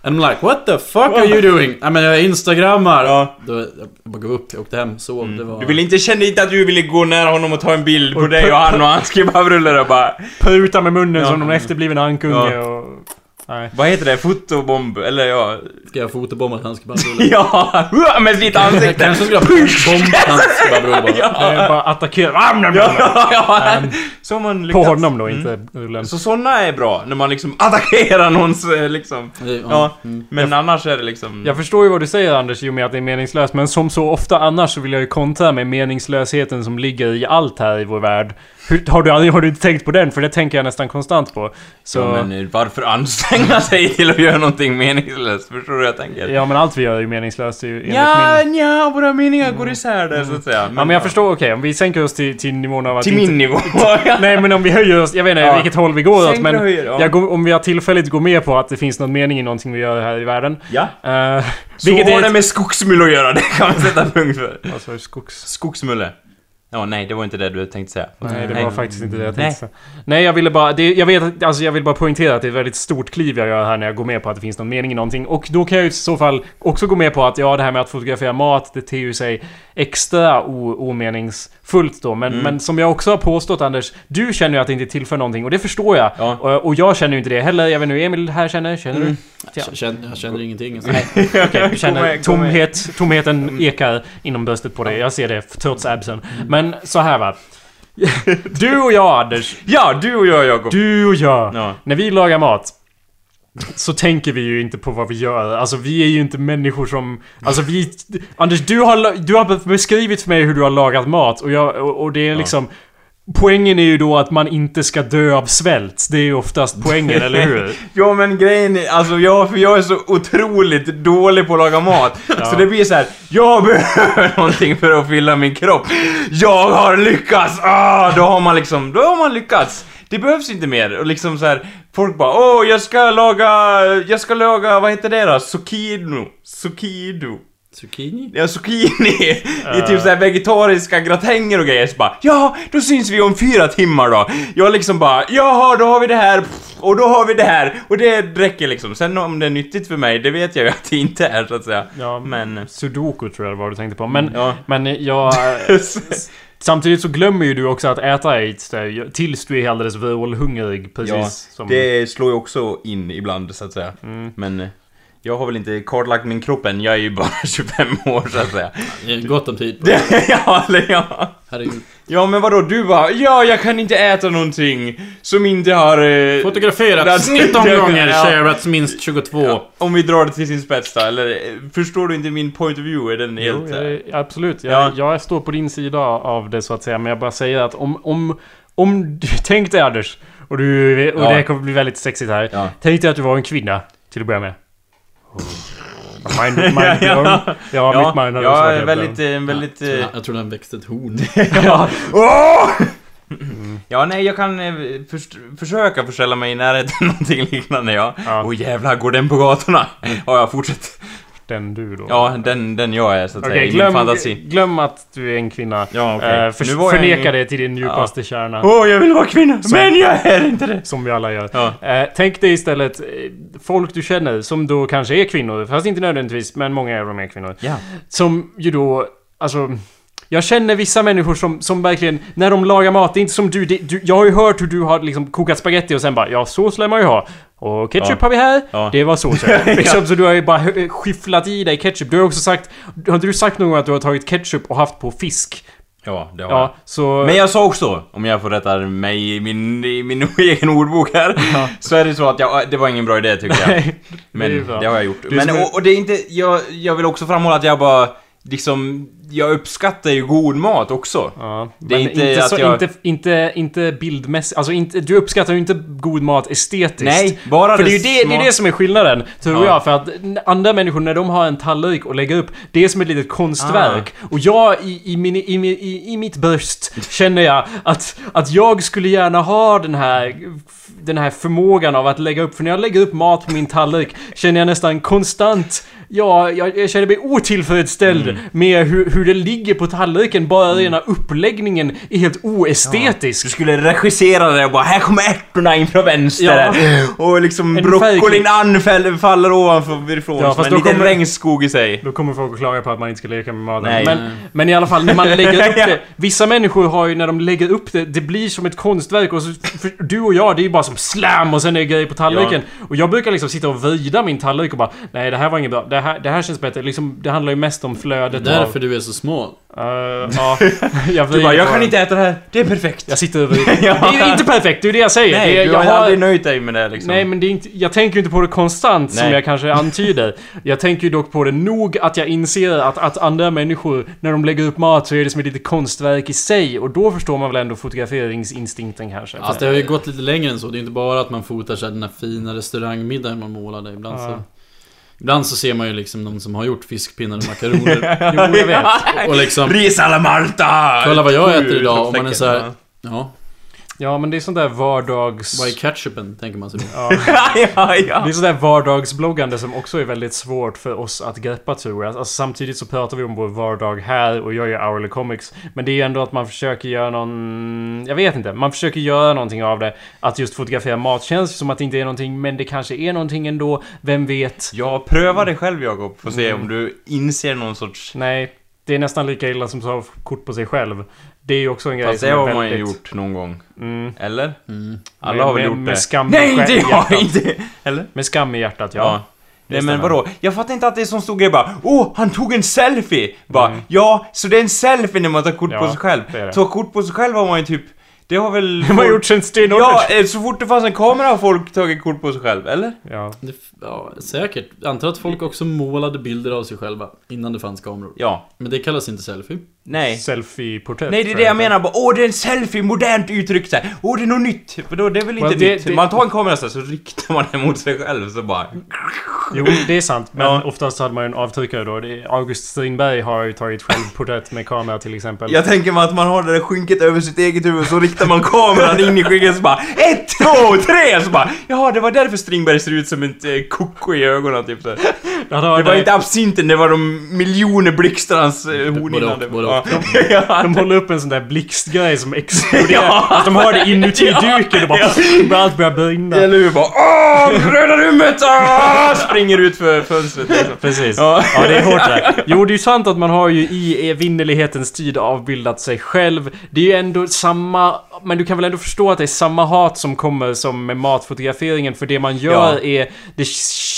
Speaker 3: And I'm like what the fuck are you doing? Ja men jag instagrammar.
Speaker 2: Ja. Mm.
Speaker 3: Då, jag bara gav upp, jag åkte hem, sov. Det var...
Speaker 2: Du vill inte, kände inte att du ville gå nära honom och ta en bild på
Speaker 1: Och
Speaker 2: dig
Speaker 1: pu-
Speaker 2: och han och hans kebabrulle och bara...
Speaker 1: Pruta med munnen
Speaker 2: Ja.
Speaker 1: som någon efterbliven ankunge och... Nej.
Speaker 2: Vad heter det? Fotobomb? Eller ja...
Speaker 3: Ska jag fotobomba hans kebabrulle?
Speaker 2: <laughs> Ja! hua, Med sitt
Speaker 3: Jag
Speaker 2: ansikte!
Speaker 3: kanske skulle ha bombat hans kebabrulle bara.
Speaker 1: Det är bara attackera...
Speaker 2: <laughs>
Speaker 1: Ah,
Speaker 2: Ja, Mm. ja. <laughs> Så har man
Speaker 1: På
Speaker 2: lyckats.
Speaker 1: honom då, inte rullen.
Speaker 2: Så såna är bra, när man liksom <laughs> attackerar någons eh, liksom... Ja, men annars är det liksom...
Speaker 1: Mm. Jag förstår ju vad du säger Anders i och med att det är meningslöst. Men som så ofta annars så vill jag ju kontra med meningslösheten som ligger i allt här i vår värld. Hur, har, du, aldrig- har du inte tänkt på den? För det tänker jag nästan konstant på. Så,
Speaker 2: Ja, men eh, varför anstränga <laughs> sig till att göra någonting meningslöst? Förstår du hur jag tänker?
Speaker 1: ja men allt vi gör är ju meningslöst ju, enligt min...
Speaker 2: ja, våra meningar går isär där så att säga.
Speaker 1: Ja men jag förstår, okej om vi sänker oss till, till nivån av att
Speaker 2: Till
Speaker 1: inte- <laughs>
Speaker 2: min nivå. <laughs>
Speaker 1: Nej men om vi höjer oss, jag vet inte
Speaker 2: Ja.
Speaker 1: vilket håll vi går åt
Speaker 2: Sänker
Speaker 1: men
Speaker 2: och höjer, ja.
Speaker 1: jag går, om vi har tillfälligt går med på att det finns någon mening i någonting vi gör här i världen.
Speaker 2: Ja.
Speaker 1: Uh,
Speaker 2: Så
Speaker 1: vilket
Speaker 2: har
Speaker 1: är
Speaker 2: det med skogsmulle att göra, <laughs> det kan vi sätta punkt för.
Speaker 1: Alltså skogs...
Speaker 2: Skogsmulle. Ja, nej, det var inte det du tänkte säga.
Speaker 1: Nej, det var faktiskt inte det jag
Speaker 2: Nej.
Speaker 1: tänkte säga. Nej, jag ville bara... Det, jag, vet, att- alltså, jag vill bara poängtera att det är ett väldigt stort kliv jag gör här när jag går med på att det finns någon mening i någonting. Och då kan jag ju i så fall också gå med på att ja, det här med att fotografera mat, det ter ju sig extra o, omeningsfullt då.
Speaker 2: Mm.
Speaker 1: Men, men som jag också har påstått Anders, du känner ju att det inte tillför någonting och det förstår jag.
Speaker 2: Ja. Mm.
Speaker 1: Och, och jag känner ju inte det heller. Jag vet inte hur Emil här känner. Känner du?
Speaker 3: Jag känner, jag känner ingenting. Alltså. Nej.
Speaker 1: Okej, du
Speaker 2: Gå
Speaker 1: känner
Speaker 2: med, gå med.
Speaker 1: tomhet,
Speaker 2: Mm.
Speaker 1: tomheten ekar inom bröstet på dig. Jag ser det trots absen. Men så här va. Du och jag Anders,
Speaker 2: Ja, du och jag, Jakob.
Speaker 1: du och jag.
Speaker 2: Ja.
Speaker 1: När vi lagar mat. Så tänker vi ju inte på vad vi gör. Alltså vi är ju inte människor som... Alltså vi... Anders, du har, la- du har beskrivit för mig hur du har lagat mat och, jag, och, och det är liksom... Poängen är ju då att man inte ska dö av svält. Det är ju oftast
Speaker 2: <laughs>
Speaker 1: poängen, eller hur?
Speaker 2: Ja men grejen är, alltså jag, för jag är så otroligt dålig på att
Speaker 1: <laughs>
Speaker 2: laga mat. Så det blir så här: jag <laughs> behöver någonting för att fylla min kropp. Jag har lyckats! Ah, då har man liksom, då har man lyckats. Det behövs inte mer. Och liksom så här, Folk bara åh jag ska laga, jag ska laga, vad heter det då? Zucchino. Zucchino.
Speaker 3: Zucchini?
Speaker 2: Ja, zucchini i typ såhär vegetariska gratänger och grejer. Så bara, ja, då syns vi om fyra timmar då. Jag liksom bara, jaha, då har vi det här pff, och då har vi det här. Och det räcker liksom. Sen om det är nyttigt för mig, det vet jag ju att det inte är så att säga.
Speaker 1: Ja,
Speaker 2: <laughs> Men...
Speaker 1: Sudoku tror jag det var du tänkte på. Men,
Speaker 2: Ja.
Speaker 1: men jag... Samtidigt så glömmer ju du också att äta aids där, tills du är alldeles vrålhungrig. Precis
Speaker 2: Ja,
Speaker 1: som... Mm.
Speaker 2: det slår ju också in ibland så att säga. Men eh, jag har väl inte kartlagt min kropp än, jag är ju bara <laughs> 25 år så att säga. <laughs>
Speaker 3: Det är Gott om tid på det.
Speaker 2: Det- ja, eller ja.
Speaker 3: Herregud.
Speaker 2: Ja men vadå, du bara ja jag kan inte äta någonting som inte har... Eh,
Speaker 3: Fotograferats 19 gånger,
Speaker 2: Ja.
Speaker 3: sharats minst 22.
Speaker 2: Ja, om vi drar det till sin spets då, eller eh, förstår du inte min point of view? Är den
Speaker 1: Jo,
Speaker 2: helt... eh,
Speaker 1: jag, absolut. Jag,
Speaker 2: Ja.
Speaker 1: jag står på din sida av det så att säga. Men jag bara säger att om... om, om du, <laughs> tänk dig Anders. Och, du, och
Speaker 2: Ja.
Speaker 1: det här kommer bli väldigt sexigt här.
Speaker 2: Ja.
Speaker 1: Tänk dig att du var en kvinna till att börja
Speaker 2: <laughs>
Speaker 1: med. Oh. Mind, mind blown. Ja, mitt mind hade också
Speaker 2: jag
Speaker 1: varit
Speaker 2: är
Speaker 1: helt
Speaker 2: väldigt, eh, väldigt... eh,
Speaker 1: <laughs>
Speaker 3: Ja, jag tror den växte ett horn.
Speaker 2: Ja. Åh!
Speaker 1: Mm.
Speaker 2: ja, nej, jag kan eh, först, försöka förställa mig i närheten någonting liknande, ja. Åh
Speaker 1: Ja.
Speaker 2: jävlar, går den på gatorna? Ja, jag fortsätt.
Speaker 1: Den du då.
Speaker 2: Ja, den, den jag är, så att
Speaker 1: Okej,
Speaker 2: säga, i min
Speaker 1: glöm,
Speaker 2: fantasi.
Speaker 1: glöm att du är en kvinna.
Speaker 2: Ja, okej.
Speaker 1: Eh, förs-
Speaker 2: Nu var jag
Speaker 1: förneka
Speaker 2: en-
Speaker 1: det till din djupaste kärna.
Speaker 2: Åh, jag vill vara kvinna, men jag är inte det!
Speaker 1: Som vi alla gör.
Speaker 2: Ja.
Speaker 1: Eh, tänk dig istället eh, folk du känner som då kanske är kvinnor, fast inte nödvändigtvis, men många av dem är kvinnor.
Speaker 2: Ja.
Speaker 1: Som ju då, alltså... Jag känner vissa människor som, som verkligen, när de lagar mat, det är inte som du, det, du Jag har ju hört hur du har liksom kokat spaghetti och sen bara ja, sås lär man ju ha. Och ketchup
Speaker 2: Ja.
Speaker 1: har vi här.
Speaker 2: Ja.
Speaker 1: Det var såsen.
Speaker 2: <laughs>
Speaker 1: liksom, så du har ju bara hö- skyfflat i dig ketchup. Du har ju också sagt, har inte du sagt någon gång att du har tagit ketchup och haft på fisk?
Speaker 2: Ja, det har jag.
Speaker 1: Ja, så...
Speaker 2: Men jag sa också, om jag får rätta mig i min, i min <laughs> egen ordbok här, så är det så att jag, det var ingen bra
Speaker 1: <laughs>
Speaker 2: idé tycker jag. Men
Speaker 1: det är
Speaker 2: det,
Speaker 1: bra.
Speaker 2: har jag gjort.
Speaker 1: är
Speaker 2: Men,
Speaker 1: som en-
Speaker 2: och, och det är inte, jag, jag vill också framhålla att jag bara, liksom, jag uppskattar ju god mat också.
Speaker 1: Ja,
Speaker 2: Det är
Speaker 1: men
Speaker 2: inte att
Speaker 1: så,
Speaker 2: jag-
Speaker 1: inte, inte, inte bildmässigt, alltså inte, du uppskattar ju inte god mat estetiskt.
Speaker 2: Nej, bara
Speaker 1: För det
Speaker 2: det
Speaker 1: är ju det, det, är
Speaker 2: smak-
Speaker 1: det som är skillnaden, tror
Speaker 2: Ja.
Speaker 1: jag. För att n- andra människor, när de har en tallrik och lägger upp, det är som ett litet konstverk.
Speaker 2: Ah.
Speaker 1: Och jag, i, i, min, i, min- i, i mitt bröst, känner jag att, att jag skulle gärna ha den här, den här förmågan av att lägga upp. För när jag lägger upp mat på min tallrik känner jag nästan konstant Ja, jag, jag känner mig otillfredsställd
Speaker 2: Mm.
Speaker 1: med hur, hur det ligger på tallriken. Bara rena uppläggningen är helt oestetisk.
Speaker 2: Du skulle regissera det och bara här kommer ärtorna in från vänster <laughs> och liksom
Speaker 1: En
Speaker 2: broccolin
Speaker 1: färgklick.
Speaker 2: anfäll- faller ovanifrån
Speaker 1: Ja,
Speaker 2: som
Speaker 1: fast
Speaker 2: en
Speaker 1: då
Speaker 2: liten
Speaker 1: kommer-
Speaker 2: regnskog i sig.
Speaker 1: Då kommer folk att klaga på att man inte ska leka med
Speaker 2: Nej.
Speaker 1: maten. Men, men i alla fall, när
Speaker 2: <laughs>
Speaker 1: man lägger upp det. Vissa människor har ju, när de lägger upp det, det blir som ett konstverk. Och så, för du och jag, det är ju bara som slam och sen är det grejer på tallriken. Och jag brukar liksom sitta och vrida min tallrik och bara Nej, det här var inget bra. Det här, det här känns bättre. Liksom, det handlar ju mest om flödet
Speaker 3: Det är därför du är så smal.
Speaker 1: av...
Speaker 2: <laughs>
Speaker 1: Eh, ja, jag
Speaker 2: Du
Speaker 1: vrider
Speaker 2: bara,
Speaker 1: på
Speaker 2: jag kan
Speaker 1: den.
Speaker 2: inte äta det här, det är perfekt.
Speaker 1: Jag sitter och
Speaker 2: <laughs>
Speaker 1: vrider. Det är inte perfekt, det är det jag säger.
Speaker 2: Nej,
Speaker 1: det,
Speaker 2: du
Speaker 1: jag
Speaker 2: har aldrig nöjt dig med det liksom.
Speaker 1: Nej men det är inte, jag tänker ju inte på det konstant som
Speaker 2: Nej.
Speaker 1: jag kanske antyder. Jag tänker ju dock på det nog att jag inser att, att andra människor, när de lägger upp mat så är det som ett litet konstverk i sig. Och då förstår man väl ändå fotograferingsinstinkten kanske.
Speaker 3: Fast det har ju gått lite längre än så. Det är ju inte bara att man fotar så här den här fina restaurangmiddagen man målade. Ibland så...
Speaker 1: Ja.
Speaker 3: Ibland så ser man ju liksom de som har gjort fiskpinnar och makaroner.
Speaker 1: Jo, jag vet.
Speaker 3: Och liksom...
Speaker 2: Ris alla Malta!
Speaker 3: Kolla vad jag äter
Speaker 2: Ur
Speaker 3: idag och man är
Speaker 2: fläcken,
Speaker 3: så
Speaker 2: ja.
Speaker 3: här. Ja,
Speaker 1: Ja men det är sånt där vardags...
Speaker 3: vad är ketchupen? Tänker man sig då.
Speaker 1: <laughs> Ja.
Speaker 2: ja,
Speaker 1: Det
Speaker 2: ja.
Speaker 1: är sånt där vardagsbloggande som också är väldigt svårt för oss att greppa tror jag. Alltså, samtidigt så pratar vi om vår vardag här och jag gör hourly comics. Men det är ju ändå att man försöker göra någon... Jag vet inte. Man försöker göra någonting av det. Att just fotografera mat känns som att det inte är någonting, men det kanske är någonting ändå. Vem vet?
Speaker 2: Ja, pröva dig själv Jakob, får se om du inser någon sorts...
Speaker 1: Nej, det är nästan lika illa som att ta kort på sig själv. Det är ju också en grej
Speaker 2: Fast
Speaker 1: som
Speaker 2: det
Speaker 1: är
Speaker 2: har
Speaker 1: väldigt...
Speaker 2: man ju gjort någon gång.
Speaker 1: Mm.
Speaker 2: Eller?
Speaker 3: Mm.
Speaker 2: Alla
Speaker 1: Med-
Speaker 2: har väl
Speaker 1: med-
Speaker 2: gjort
Speaker 1: med
Speaker 2: det?
Speaker 1: skam i <laughs>
Speaker 2: Nej, inte
Speaker 1: själ-
Speaker 2: jag!
Speaker 1: hjärtat.
Speaker 2: Inte. Eller?
Speaker 1: Med skam i hjärtat, ja. <laughs>
Speaker 2: Ja. Nej men
Speaker 1: stämmer.
Speaker 2: vadå? Jag fattar inte att det är sån stor grej bara Åh, han tog en selfie! Bara, ja, så det är en selfie när man tar kort på
Speaker 1: Mm. Ja,
Speaker 2: sig själv.
Speaker 1: det är det.
Speaker 2: Ta kort på sig själv har man ju typ... Det har väl...
Speaker 1: Det har man gjort sen stenålders.
Speaker 2: Ja, eh, så fort det fanns en kamera har folk tagit kort på sig själv, eller?
Speaker 1: ja.
Speaker 3: Det, ja, säkert. Jag Antar att folk också målade bilder av sig själva innan det fanns kameror.
Speaker 2: Ja.
Speaker 3: Men det kallas inte selfie.
Speaker 2: Nej.
Speaker 1: Selfie-porträtt.
Speaker 2: Nej det är
Speaker 1: tror
Speaker 2: det jag
Speaker 1: heter.
Speaker 2: menar, bara, åh det är en selfie, modernt uttryck så här. åh det är något nytt, för då det är väl
Speaker 1: Men
Speaker 2: inte
Speaker 1: det-
Speaker 2: nytt?
Speaker 1: det-
Speaker 2: Man tar en kamera så, här, så riktar man den mot sig själv så bara...
Speaker 1: Jo, det är sant. Men
Speaker 2: Ja.
Speaker 1: oftast hade man ju en avtryckare då. Det- August Strindberg har ju tagit självporträtt med kamera till exempel.
Speaker 2: Jag tänker mig att man har det där skynket över sitt eget huvud så riktar man kameran in i skynket så bara ett, två, tre! Så bara jaha, det var därför Strindberg ser ut som ett eh, koko i ögonen typ så. här.
Speaker 1: Han har
Speaker 2: Det var
Speaker 1: det-
Speaker 2: inte absinten, det var de miljoner blixtarnas eh,
Speaker 3: Både
Speaker 2: hornhinnande.
Speaker 3: och, både och.
Speaker 2: Ja. <laughs>
Speaker 1: De håller upp en sån där blixtgrej som exploderar.
Speaker 2: Ja.
Speaker 1: Att de har det inuti duken och bara...
Speaker 2: <laughs> Ja.
Speaker 1: Allt börjar brinna.
Speaker 2: Eller hur? Bara åh, röda rummet! Åh! Springer ut för fönstret liksom.
Speaker 1: Precis.
Speaker 2: Ja.
Speaker 1: Ja. det är hårt det. <laughs> Jo, det är ju sant att man har ju i evinnerlighetens tid avbildat sig själv. Det är ju ändå samma... Men du kan väl ändå förstå att det är samma hat som kommer som med matfotograferingen för det man gör är... Det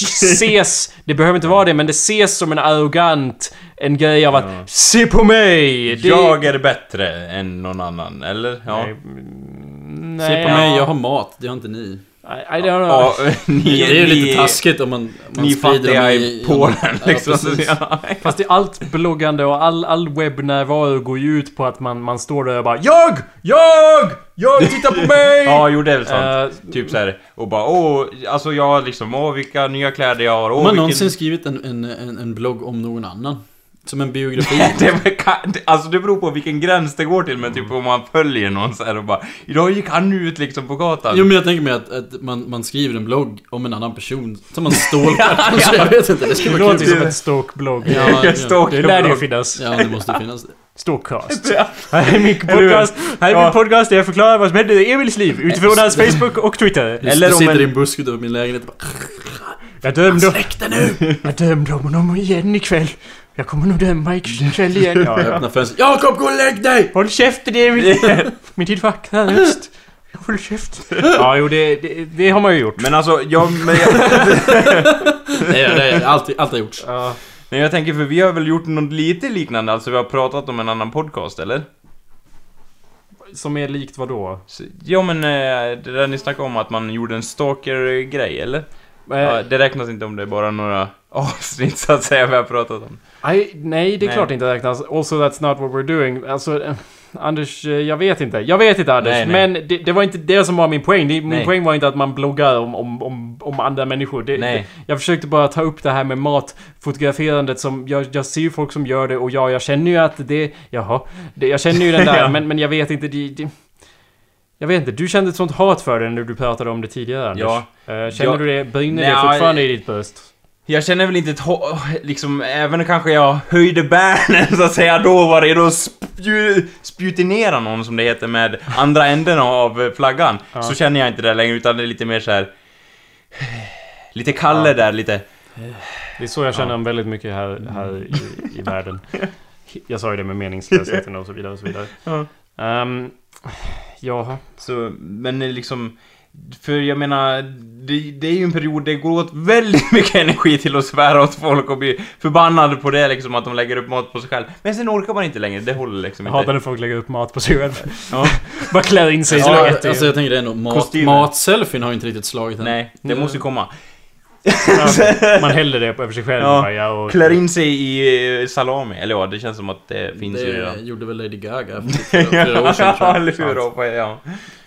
Speaker 1: ses... Det behöver inte vara det, men det ses som en arrogant... En grej av att Se på mig! Det,
Speaker 2: Jag är bättre än någon annan, eller? Ja.
Speaker 1: Nej, mm, nej,
Speaker 3: Se på mig,
Speaker 1: ja.
Speaker 3: jag har mat, det har inte ni.
Speaker 1: I, I don't know.
Speaker 2: Ja, ni,
Speaker 3: Det är ju
Speaker 2: ni-
Speaker 3: lite taskigt om man, om man
Speaker 2: Ni
Speaker 3: sprider dem
Speaker 2: fattiga
Speaker 3: i...
Speaker 2: i Polen liksom.
Speaker 3: Ja, precis.
Speaker 2: Ja.
Speaker 1: Fast det, allt bloggande och all, all webbnärvaro går ju ut på att man, man står där och bara JAG! JAG! JAG! Titta på mig!
Speaker 2: Ja, jo det är väl sant.
Speaker 1: Eh,
Speaker 2: typ såhär, och bara åh, alltså jag liksom, åh vilka nya kläder jag har, åh
Speaker 3: Har man
Speaker 2: vilken...
Speaker 3: någonsin skrivit en, en, en, en blogg om någon annan? Som
Speaker 2: <laughs>
Speaker 3: en biografi?
Speaker 2: <laughs> Det var, ka- det- alltså det beror på vilken gräns det går till, men typ om man följer någon såhär och bara Idag gick han ut liksom på gatan.
Speaker 3: Jo men jag tänker mig att, att man, man skriver en blogg om en annan person som
Speaker 2: <laughs>
Speaker 3: man stalkar kanske, jag vet inte, det
Speaker 1: Det
Speaker 3: skulle vara
Speaker 1: låter
Speaker 3: kul.
Speaker 1: ju som ett stalkblogg.
Speaker 3: Ja,
Speaker 2: <laughs> jag stalkar
Speaker 1: Det lär det ju
Speaker 2: någon.
Speaker 1: finnas.
Speaker 3: Ja, det måste finnas.
Speaker 1: <laughs> Stalkcast. Här är min podcast. Här är
Speaker 2: Ja.
Speaker 1: min podcast där jag förklarar vad som hände i Emils liv utifrån hans Facebook och Twitter.
Speaker 3: Du,
Speaker 2: Eller
Speaker 3: du
Speaker 2: om
Speaker 3: sitter
Speaker 2: en-
Speaker 3: i en buske utanför min lägenhet och bara
Speaker 1: Jag dömde,
Speaker 3: Släck dig nu!
Speaker 1: jag dömde om honom igen ikväll. Jag kommer nog döma ikväll igen. Ja, ja.
Speaker 3: Öppna fönstret. Jakob, gå och lägg dig!
Speaker 1: Håll käften Emil! Min tid vackra röst. Håll käften. Ja, jo det, det, det har man ju gjort.
Speaker 2: Men alltså, jag, men jag, <laughs>
Speaker 3: Nej, nej, allt, allt har gjorts.
Speaker 1: Ja.
Speaker 2: nej, jag tänker för vi har väl gjort något lite liknande, alltså vi har pratat om en annan podcast eller?
Speaker 1: Som är likt vad då?
Speaker 2: Så, ja men eh, det där ni snackade om att man gjorde en stalker-grej eller?
Speaker 1: Eh.
Speaker 2: Ja, det räknas inte om det är bara några <laughs> avsnitt så att säga vi har pratat om.
Speaker 1: I, nej, det är
Speaker 2: Nej.
Speaker 1: klart det inte räknas. Also that's not what we're doing. Alltså, eh, Anders, eh, jag vet inte. Jag vet inte Anders,
Speaker 2: Nej, nej.
Speaker 1: men det, det var inte det som var min poäng. Det, min
Speaker 2: Nej.
Speaker 1: poäng var inte att man bloggar om, om, om, om andra människor. Det,
Speaker 2: Nej.
Speaker 1: Det, jag försökte bara ta upp det här med matfotograferandet som, jag, jag ser ju folk som gör det och ja, jag känner ju att det, jaha, det, jag känner ju den där,
Speaker 2: <laughs> Ja.
Speaker 1: men, men jag vet inte, det, det, jag vet inte, du kände ett sånt hat för det när du pratade om det tidigare Anders.
Speaker 2: Ja.
Speaker 1: Eh, Känner
Speaker 2: Ja.
Speaker 1: du det, brinner
Speaker 2: Nej,
Speaker 1: det fortfarande i ditt bröst?
Speaker 2: Jag känner väl inte ett ho- liksom, även kanske jag höjde bärnen <laughs> så att säga då var det då spju- spjutinera någon som det heter med andra änden av eh, flaggan.
Speaker 1: Ja.
Speaker 2: Så känner jag inte det längre utan det är lite mer så här. Lite Kalle där lite.
Speaker 1: Det är så jag känner ja. väldigt mycket här,
Speaker 2: Mm.
Speaker 1: här i,
Speaker 2: <laughs>
Speaker 1: i världen. Jag sa ju det med meningslösheten och så vidare och så vidare.
Speaker 2: Ja.
Speaker 1: Ehm, ja,
Speaker 2: Så, men eh, liksom, för jag menar, det, det är ju en period det går åt väldigt <laughs> mycket energi till att svära åt folk och bli förbannad på det liksom, att de lägger upp mat på sig själv. Men sen orkar man inte längre, det håller liksom
Speaker 1: jag
Speaker 2: inte.
Speaker 1: hatar när folk lägger upp mat på sig själv.
Speaker 2: Ja.
Speaker 1: <laughs> Bara klär in sig i typ.
Speaker 3: Ja,
Speaker 1: spagetti.
Speaker 3: alltså jag tänker det ändå, mat,
Speaker 2: Kostymer.
Speaker 3: matselfien har ju inte riktigt slagit än.
Speaker 2: Nej, det
Speaker 1: Mm.
Speaker 2: måste ju komma.
Speaker 1: Ja, Man häller det på- över sig själv.
Speaker 2: Ja.
Speaker 1: bara, Ja. och,
Speaker 2: Klär in sig i eh, salami, eller ja, det känns som att det finns ju
Speaker 3: Det
Speaker 2: redan.
Speaker 3: gjorde väl Lady Gaga
Speaker 2: <laughs>
Speaker 3: för flera flera år sedan
Speaker 2: Ja,
Speaker 3: tror
Speaker 2: eller
Speaker 3: jag.
Speaker 2: hur? Robert? Ja.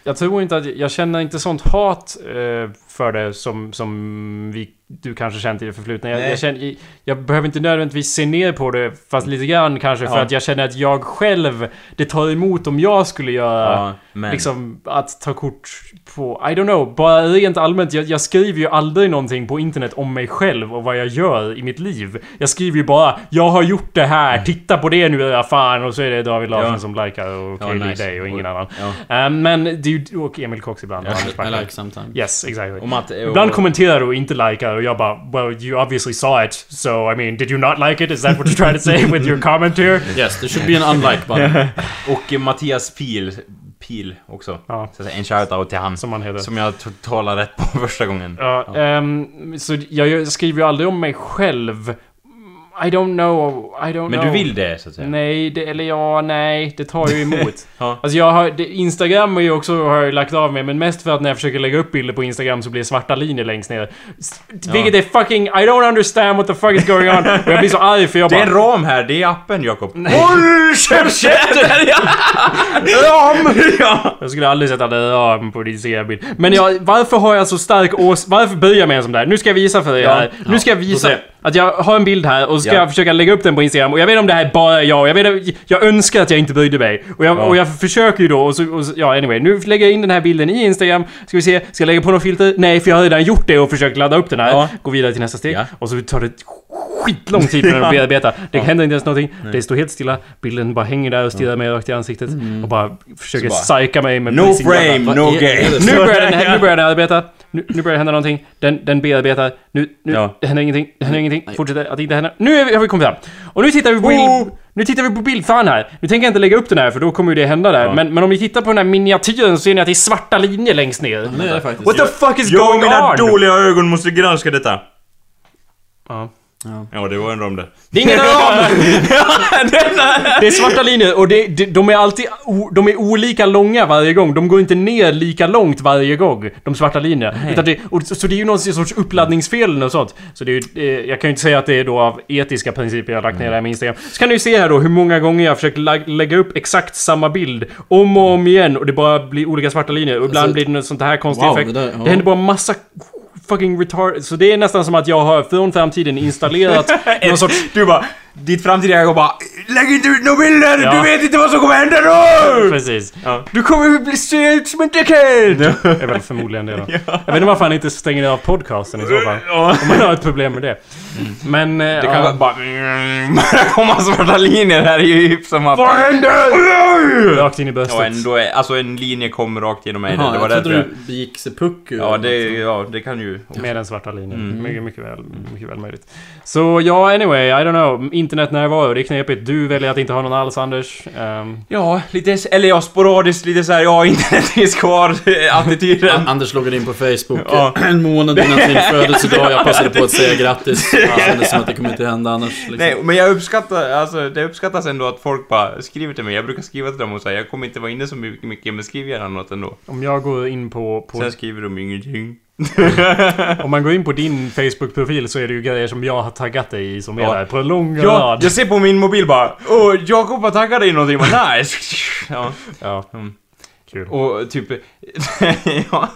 Speaker 1: jag tror inte att, jag känner inte sånt hat eh, för det som, som vi, du kanske känt i det förflutna. Jag,
Speaker 2: Nej.
Speaker 1: jag, känner, jag behöver inte nödvändigtvis se ner på det, fast lite grann kanske, för
Speaker 2: Ja.
Speaker 1: att jag känner att jag själv, det tar emot om jag skulle göra
Speaker 2: Ja, men.
Speaker 1: Liksom att ta kort på... I don't know. Bara rent allmänt. Jag, jag skriver ju aldrig någonting på internet om mig själv och vad jag gör i mitt liv. Jag skriver ju bara “Jag har gjort det här, titta på det nu era fan” och så är det David Larsson
Speaker 2: Mm. Ja.
Speaker 1: som likar och
Speaker 2: Ja,
Speaker 1: okej det är
Speaker 2: nice.
Speaker 1: dig och ingen
Speaker 2: Och-
Speaker 1: annan.
Speaker 2: ja.
Speaker 1: Eh, men det är ju... Och Emil Cox ibland. och Anders
Speaker 3: I
Speaker 1: Backlund.
Speaker 3: like sometimes.
Speaker 1: Yes, exactly.
Speaker 2: Och Matt, eh, och,
Speaker 1: Ibland kommenterar du och inte likar och jag bara “Well, you obviously saw it, so I mean, did you not like it? Is that what you're trying to say with your comment here?”
Speaker 3: Yes, there should be an unlike
Speaker 2: <laughs>
Speaker 3: button.
Speaker 2: och eh, Mattias Pil, Pil också.
Speaker 1: Ja,
Speaker 2: Så att säga, en shout-out till han. Som,
Speaker 1: som man heter.
Speaker 2: jag to- talade rätt på första gången.
Speaker 1: Ja, ehm, så jag gör- skriver ju aldrig om mig själv. I don't know, I don't
Speaker 2: Men
Speaker 1: know.
Speaker 2: du vill det så att säga?
Speaker 1: Nej, det, eller ja, nej, det tar ju
Speaker 2: <laughs>
Speaker 1: emot.
Speaker 2: Ja.
Speaker 1: Alltså jag har, det, Instagram är ju också, har jag ju lagt av med, men mest för att när jag försöker lägga upp bilder på Instagram så blir det svarta linjer längst ner. S- Vilket är fucking, I don't understand what the fuck is going on. Och jag blir så arg för jag
Speaker 2: Det
Speaker 1: bara...
Speaker 2: är en ram här, det är appen Jakob.
Speaker 1: Håll käften! <laughs>
Speaker 2: Ram! ja.
Speaker 1: Jag skulle aldrig sätta det ram på din Instagram-bild. Men jag, varför har jag så stark ås... Varför böjer jag mig en sån där? Nu ska jag visa för er här. Nu ska jag visa
Speaker 3: får se.
Speaker 1: att jag har en bild här och ska
Speaker 2: Ja.
Speaker 1: jag försöka lägga upp den på Instagram. Och jag vet om det här är bara jag. Jag, vet, jag önskar att jag inte böjde mig. Och jag, och jag försöker ju då och så, och så... Ja, anyway. Nu lägger jag in den här bilden i Instagram. Ska vi se. Ska jag lägga på något filter? Nej, för jag har redan gjort det och försökt ladda upp den här.
Speaker 2: Ja.
Speaker 1: Gå vidare till nästa steg.
Speaker 2: Ja.
Speaker 1: Och så tar det skitlång tid för den att
Speaker 2: <laughs>
Speaker 1: bearbeta. Det händer inte ens någonting. Det står helt stilla. Bilden bara hänger där och stirrar mig rakt i ansiktet.
Speaker 2: Mm.
Speaker 1: Och bara försöker
Speaker 2: Så
Speaker 1: psyka mig med
Speaker 2: No
Speaker 1: med sin
Speaker 2: frame,
Speaker 1: hjärna.
Speaker 2: no
Speaker 3: Vad är det?
Speaker 1: <laughs>
Speaker 2: game.
Speaker 1: Nu börjar den, nu börjar den arbeta. Nu, nu börjar det hända någonting. Den, den bearbetar. Nu, nu
Speaker 2: Ja.
Speaker 1: det händer ingenting. Det händer ingenting. Fortsätter att inte hända. Nu är vi, har vi kommit fram. Och nu tittar vi på bild. Nu tittar vi på bild. Fan här. Nu tänker jag inte lägga upp den här för då kommer ju det hända där. Men, men om ni tittar på den här miniatyren så ser ni att det är svarta linjer längst ner.
Speaker 3: det är det faktiskt.
Speaker 1: What the fuck is
Speaker 2: Jag och
Speaker 1: going
Speaker 2: mina
Speaker 1: on?
Speaker 2: dåliga ögon måste granska detta.
Speaker 1: Ja.
Speaker 2: Ja, det var en ram där.
Speaker 1: Det är ingen ram! det är svarta linjer och det, det, de är alltid o, de är olika långa varje gång. De går inte ner lika långt varje gång, de svarta linjerna. Utan det, och, så, så det är ju någon sorts uppladdningsfel eller något sånt. Så det är, ju- eh, jag kan ju inte säga att det är då av etiska principer jag har lagt ner det här med Instagram. Så kan du ju se här då hur många gånger jag har försökt lag- lägga upp exakt samma bild om och om igen och det bara blir olika svarta linjer. Och ibland
Speaker 3: Alltså,
Speaker 1: blir det något sånt här konstigt
Speaker 3: wow,
Speaker 1: effekt.
Speaker 3: det
Speaker 1: Det,
Speaker 3: där- ja.
Speaker 1: händer bara massa fucking retard... Så det är nästan som att jag har från framtiden
Speaker 2: <laughs>
Speaker 1: installerat någon sorts
Speaker 2: Du bara, ditt framtida jag bara Lägg inte ut några bilder!
Speaker 1: Ja.
Speaker 2: Du vet inte vad som kommer hända då!
Speaker 1: Precis.
Speaker 2: Ja.
Speaker 1: Du kommer att bli se ut som en dickhead! är väl förmodligen
Speaker 2: <laughs>
Speaker 1: det då. Jag vet inte varför han inte stänger av podcasten i så fall.
Speaker 2: Ja. Mm.
Speaker 1: Om man har ett problem med det. Men... eh,
Speaker 2: Det
Speaker 1: ja.
Speaker 2: kan bara... <laughs> Bara komma svarta linjer här är ju hipp som
Speaker 1: Vad
Speaker 2: att...
Speaker 1: händer? Rakt in i
Speaker 2: Ja,
Speaker 1: bröstet.
Speaker 2: ändå är, alltså en linje kom rakt genom mig.
Speaker 3: Jaha,
Speaker 2: det var
Speaker 3: jag
Speaker 2: därför
Speaker 3: trodde
Speaker 2: jag...
Speaker 3: du begick sig puck ur
Speaker 2: Ja, det, ja, det kan ju...
Speaker 1: Med den svarta linjen.
Speaker 2: Mm.
Speaker 1: Mycket, mycket, väl, mycket väl möjligt. Så ja, anyway. I don't know. Internetnärvaro, det är knepigt. Du väljer att inte ha någon alls, Anders. Ehm,
Speaker 2: Ja, lite... Eller ja, sporadiskt lite såhär, ja, <laughs> internet finns eh, kvar-attityden.
Speaker 3: An- Anders loggade in på Facebook
Speaker 2: Ja.
Speaker 3: <laughs> en månad
Speaker 2: <laughs>
Speaker 3: innan sin födelsedag. Jag passade på att säga grattis. Det kändes som att det kommer inte hända annars. Liksom.
Speaker 2: Nej, men jag uppskattar, alltså det uppskattas ändå att folk bara skriver till mig. Jag brukar skriva till dem och säga jag kommer inte vara inne så mycket, mycket men skriv gärna något ändå.
Speaker 1: om jag går in på... på
Speaker 2: Sen skriver de ingenting.
Speaker 1: om man går in på din Facebook-profil så är det ju grejer som jag har taggat dig i som är
Speaker 2: Ja.
Speaker 1: där på en lång
Speaker 2: Ja,
Speaker 1: rad.
Speaker 2: jag ser på min mobil bara Åh, Jakob har taggat dig i någonting, vad nice! <laughs> Ja,
Speaker 1: Ja.
Speaker 2: Mm.
Speaker 1: Kul.
Speaker 2: och typ... <laughs> ja,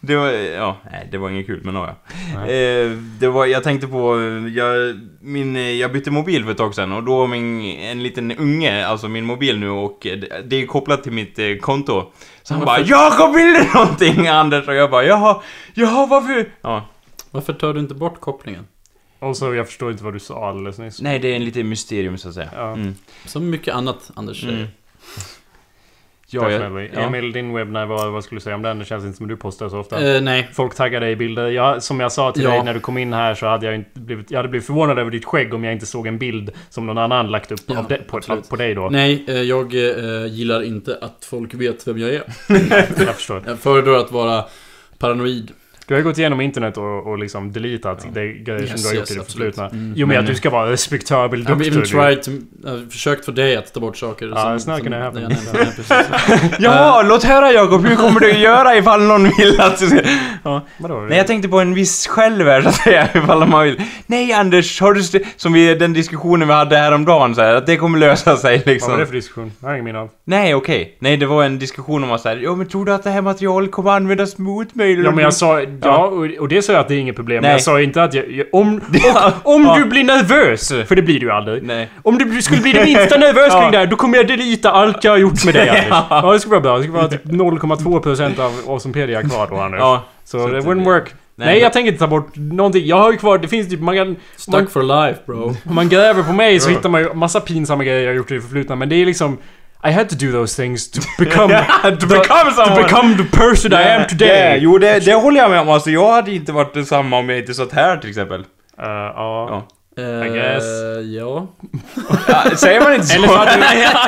Speaker 2: det var... Ja, nej, det var inget kul, men ja. ja. Eh, det var, jag tänkte på... eh, Jag, min, eh, jag bytte mobil för ett tag sedan och då har min, en liten unge, alltså min mobil nu och eh, det- det är kopplat till mitt eh, konto. Så han bara 'Jakob, vill du någonting <laughs> Anders?' Och jag bara 'Jaha, jaha varför?' Ja,
Speaker 3: Varför tar du inte bort kopplingen?
Speaker 1: Och så alltså, jag förstår inte vad du sa alldeles nyss.
Speaker 2: nej det är en liten mysterium så att säga.
Speaker 1: Ja.
Speaker 2: Mm.
Speaker 3: Som mycket annat Anders Eh, säger.
Speaker 2: Mm.
Speaker 1: Ja,
Speaker 2: Ja, jag- ja.
Speaker 1: Emil, din webbnärvaro, vad skulle du säga om den? Det känns inte som du postar så ofta.
Speaker 3: Eh, nej.
Speaker 1: Folk taggar dig i bilder. Jag, som jag sa till
Speaker 3: Ja.
Speaker 1: dig när du kom in här så hade jag inte blivit... Jag hade blivit förvånad över ditt skägg om jag inte såg en bild som någon annan lagt upp
Speaker 3: Ja,
Speaker 1: av de, på,
Speaker 3: absolut.
Speaker 1: på dig då.
Speaker 3: Nej, eh, jag eh, gillar inte att folk vet vem jag är.
Speaker 1: Jag förstår.
Speaker 3: Jag föredrar att vara paranoid.
Speaker 1: Du har ju gått igenom internet och, och liksom deletat de grejer som
Speaker 3: Yes,
Speaker 1: du har gjort
Speaker 3: yes,
Speaker 1: i det
Speaker 3: absolut.
Speaker 1: förflutna. I och med att du ska vara respektabel
Speaker 3: Jag har
Speaker 1: doktor.
Speaker 3: even
Speaker 1: du.
Speaker 3: tried to, jag har försökt få dig att ta bort saker
Speaker 1: Ja, it's not gonna happen.
Speaker 3: Nej, nej, nej,
Speaker 2: <laughs>
Speaker 3: precis.
Speaker 2: Jaha, låt höra Jakob, hur kommer du att göra ifall någon vill att du ska... Ja.
Speaker 1: Vadå?
Speaker 2: Nej, jag tänkte på en viss själv här, så att säga, <laughs> ifall man vill. Nej, Anders, har du... st- Som vi, den diskussionen vi hade häromdagen, så här, att det kommer lösa sig <laughs>
Speaker 1: Vad var det
Speaker 2: liksom.
Speaker 1: för diskussion? Jag har ingen minne av.
Speaker 2: Nej, okej. Nej, det var en diskussion om att säga, ja men tror du att det här materialet kommer användas mot mig?
Speaker 1: Ja men jag sa... Ja, och och det sa jag att det är inget problem.
Speaker 2: Mm. Nej.
Speaker 1: Jag sa inte att jag... jag-
Speaker 2: <laughs>
Speaker 1: Om, och, om du blir nervös, för det blir du ju aldrig.
Speaker 2: Nej.
Speaker 1: Om du skulle bli det
Speaker 2: <laughs>
Speaker 1: minsta nervös
Speaker 2: Ja.
Speaker 1: kring det här, då kommer jag delita allt jag har gjort med
Speaker 2: <laughs>
Speaker 1: dig Anders. Ja, det skulle vara bra. Det skulle vara typ 0,2% av Awesompedia kvar då Anders.
Speaker 2: Ja.
Speaker 1: Så
Speaker 2: Så
Speaker 1: det
Speaker 2: att-
Speaker 1: wouldn't work. Nej,
Speaker 2: Nej,
Speaker 1: jag tänker inte ta bort någonting. Jag har ju kvar, det finns typ, man kan... Man,
Speaker 3: Stuck for life bro.
Speaker 1: om man gräver på mig så hittar man ju massa pinsamma grejer jag har gjort i det förflutna, men det är liksom... I had to do those things to become...
Speaker 2: <laughs> to become
Speaker 1: To
Speaker 2: someone.
Speaker 1: become the person I am today!
Speaker 2: Yeah, jo, det, det håller jag med om. Alltså, jag hade inte varit detsamma om jag inte satt här till exempel.
Speaker 1: Eh, ja.
Speaker 2: Ja.
Speaker 3: Eh,
Speaker 1: guess.
Speaker 3: Ja.
Speaker 2: Ja, säger man inte så?
Speaker 1: Eller så hade,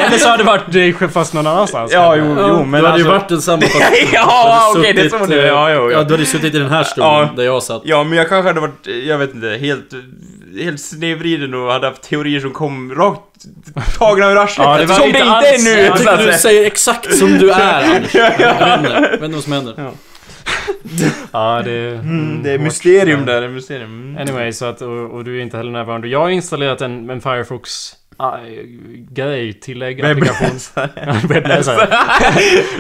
Speaker 1: eller så hade det varit dig själv fast någon annanstans.
Speaker 2: <laughs> Ja, jo, jo, men
Speaker 3: du hade
Speaker 2: alltså...
Speaker 3: ju varit densamma fast...
Speaker 2: <laughs> ja,
Speaker 3: du hade
Speaker 2: okej, det är
Speaker 3: suttit,
Speaker 2: så det är.
Speaker 3: eh,
Speaker 2: Ja, jo, ja.
Speaker 3: du hade ju suttit i den här stolen
Speaker 2: Ja.
Speaker 3: där jag satt.
Speaker 2: Ja, men jag kanske hade varit, eh, jag vet inte, helt eh, helt snedvriden och hade haft teorier som kom rakt tagna ur arslet.
Speaker 1: Ja, det var
Speaker 2: som
Speaker 1: inte
Speaker 2: det inte
Speaker 1: alls-
Speaker 2: är nu!
Speaker 1: Jag
Speaker 3: Jag
Speaker 2: så att
Speaker 3: tycker
Speaker 2: säga.
Speaker 3: du säger exakt som du är
Speaker 2: <laughs>
Speaker 3: Anders. Jag vet inte- jag vet inte vad som händer.
Speaker 1: Ja, det...
Speaker 2: Mm, det är
Speaker 1: hårt.
Speaker 2: mysterium där, det är mysterium. Mm.
Speaker 1: Anyway, så att, och, och du är inte heller närvarande. Jag har installerat en, en Firefox ah, grej, tillägg, applikation. <laughs> Webbläsare.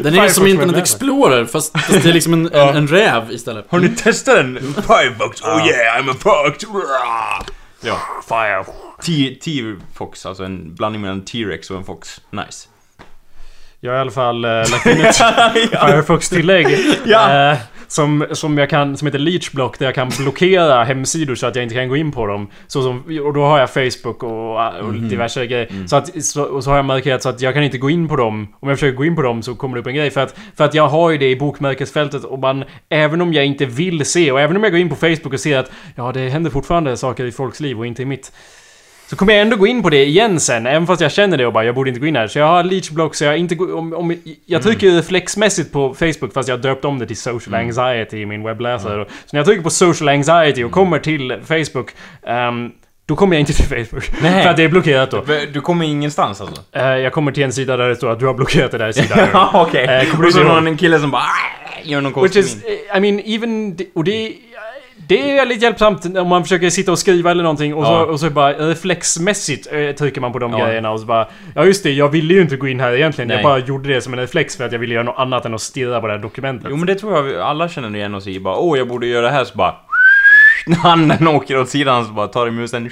Speaker 3: Den är ju
Speaker 1: Firefox
Speaker 3: som Internet
Speaker 1: webbläsare.
Speaker 3: Explorer fast, fast det är liksom en, en, en räv istället.
Speaker 2: Har ni testat den? Firebox, oh yeah, I'm a fox! Rah! Ja,
Speaker 1: Fire.
Speaker 2: T- T-fox, alltså en blandning mellan en T-rex och en fox. <laughs> Nice.
Speaker 1: Jag har i alla fall eh, lagt in ett Firefox-tillägg.
Speaker 2: Ja.
Speaker 1: eh, som, som, jag kan, som heter Leechblock där jag kan blockera hemsidor så att jag inte kan gå in på dem. Så som, och då har jag Facebook och, och diverse grejer. Så att, så, och så har jag markerat så att jag kan inte gå in på dem. Om jag försöker gå in på dem så kommer det upp en grej. För att, för att jag har ju det i bokmärkesfältet och man, även om jag inte vill se och även om jag går in på Facebook och ser att ja, det händer fortfarande saker i folks liv och inte i mitt. Så kommer jag ändå gå in på det igen sen, även fast jag känner det och bara jag borde inte gå in här. Så jag har leechblock så jag inte går, om, om, Jag trycker reflexmässigt på Facebook fast jag har döpt om det till social anxiety i min webbläsare. Så när jag trycker på social anxiety och kommer till Facebook ehm, då kommer jag inte till <laughs> Facebook.
Speaker 2: Nej.
Speaker 1: För att det är blockerat då.
Speaker 2: Du kommer ingenstans alltså?
Speaker 1: Eh, jag kommer till en sida där det står att du har blockerat den där
Speaker 2: <laughs>
Speaker 1: sidan.
Speaker 2: Ja, okej.
Speaker 1: Eh, kommer du
Speaker 2: Och så
Speaker 1: ihåg?
Speaker 2: någon en kille som bara "Ah", gör någon
Speaker 1: Which
Speaker 2: konstig
Speaker 1: is, eh, I mean, even... Och det... eh, Det är väldigt hjälpsamt om man försöker sitta och skriva eller någonting och,
Speaker 2: Ja.
Speaker 1: så, och så bara reflexmässigt eh, trycker man på de
Speaker 2: Ja.
Speaker 1: grejerna och så bara... Ja just det, jag ville ju inte gå in här egentligen.
Speaker 2: Nej.
Speaker 1: Jag bara gjorde det som en reflex för att jag ville göra något annat än att stirra på det här dokumentet.
Speaker 2: Jo men det tror jag vi alla känner igen oss i. Bara åh jag borde göra det här så bara... <laughs> När handen åker åt sidan så bara tar i musen.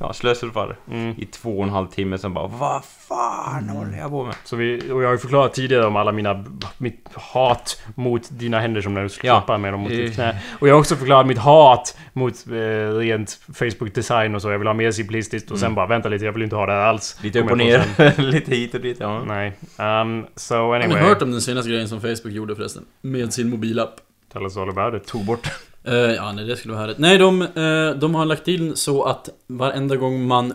Speaker 2: Ja, slösurfar.
Speaker 1: Mm.
Speaker 2: I två och en halv timme sen bara vad fan håller jag på med?
Speaker 1: Så vi, och jag har ju förklarat tidigare om alla mina... Mitt hat mot dina händer som när du skulle
Speaker 2: Ja.
Speaker 1: klappa med dem mot
Speaker 2: Eh.
Speaker 1: ditt knä. Och jag har också förklarat mitt hat mot eh, rent Facebook-design och så. Jag vill ha mer simplistiskt och sen bara vänta lite, jag vill inte ha det här alls.
Speaker 2: Mm. Lite upp
Speaker 1: Kommer
Speaker 2: och
Speaker 1: jag på sen.
Speaker 2: ner, <laughs> lite hit och dit. Ja.
Speaker 1: Nej. Um, so
Speaker 3: Har ni
Speaker 1: anyway.
Speaker 3: hört om den senaste grejen som Facebook gjorde förresten? Med sin mobilapp.
Speaker 1: Tell us all about it.
Speaker 2: Tog bort.
Speaker 3: Eh, ja, nej det skulle vara härligt. Nej, de, eh, de har lagt in så att varenda gång man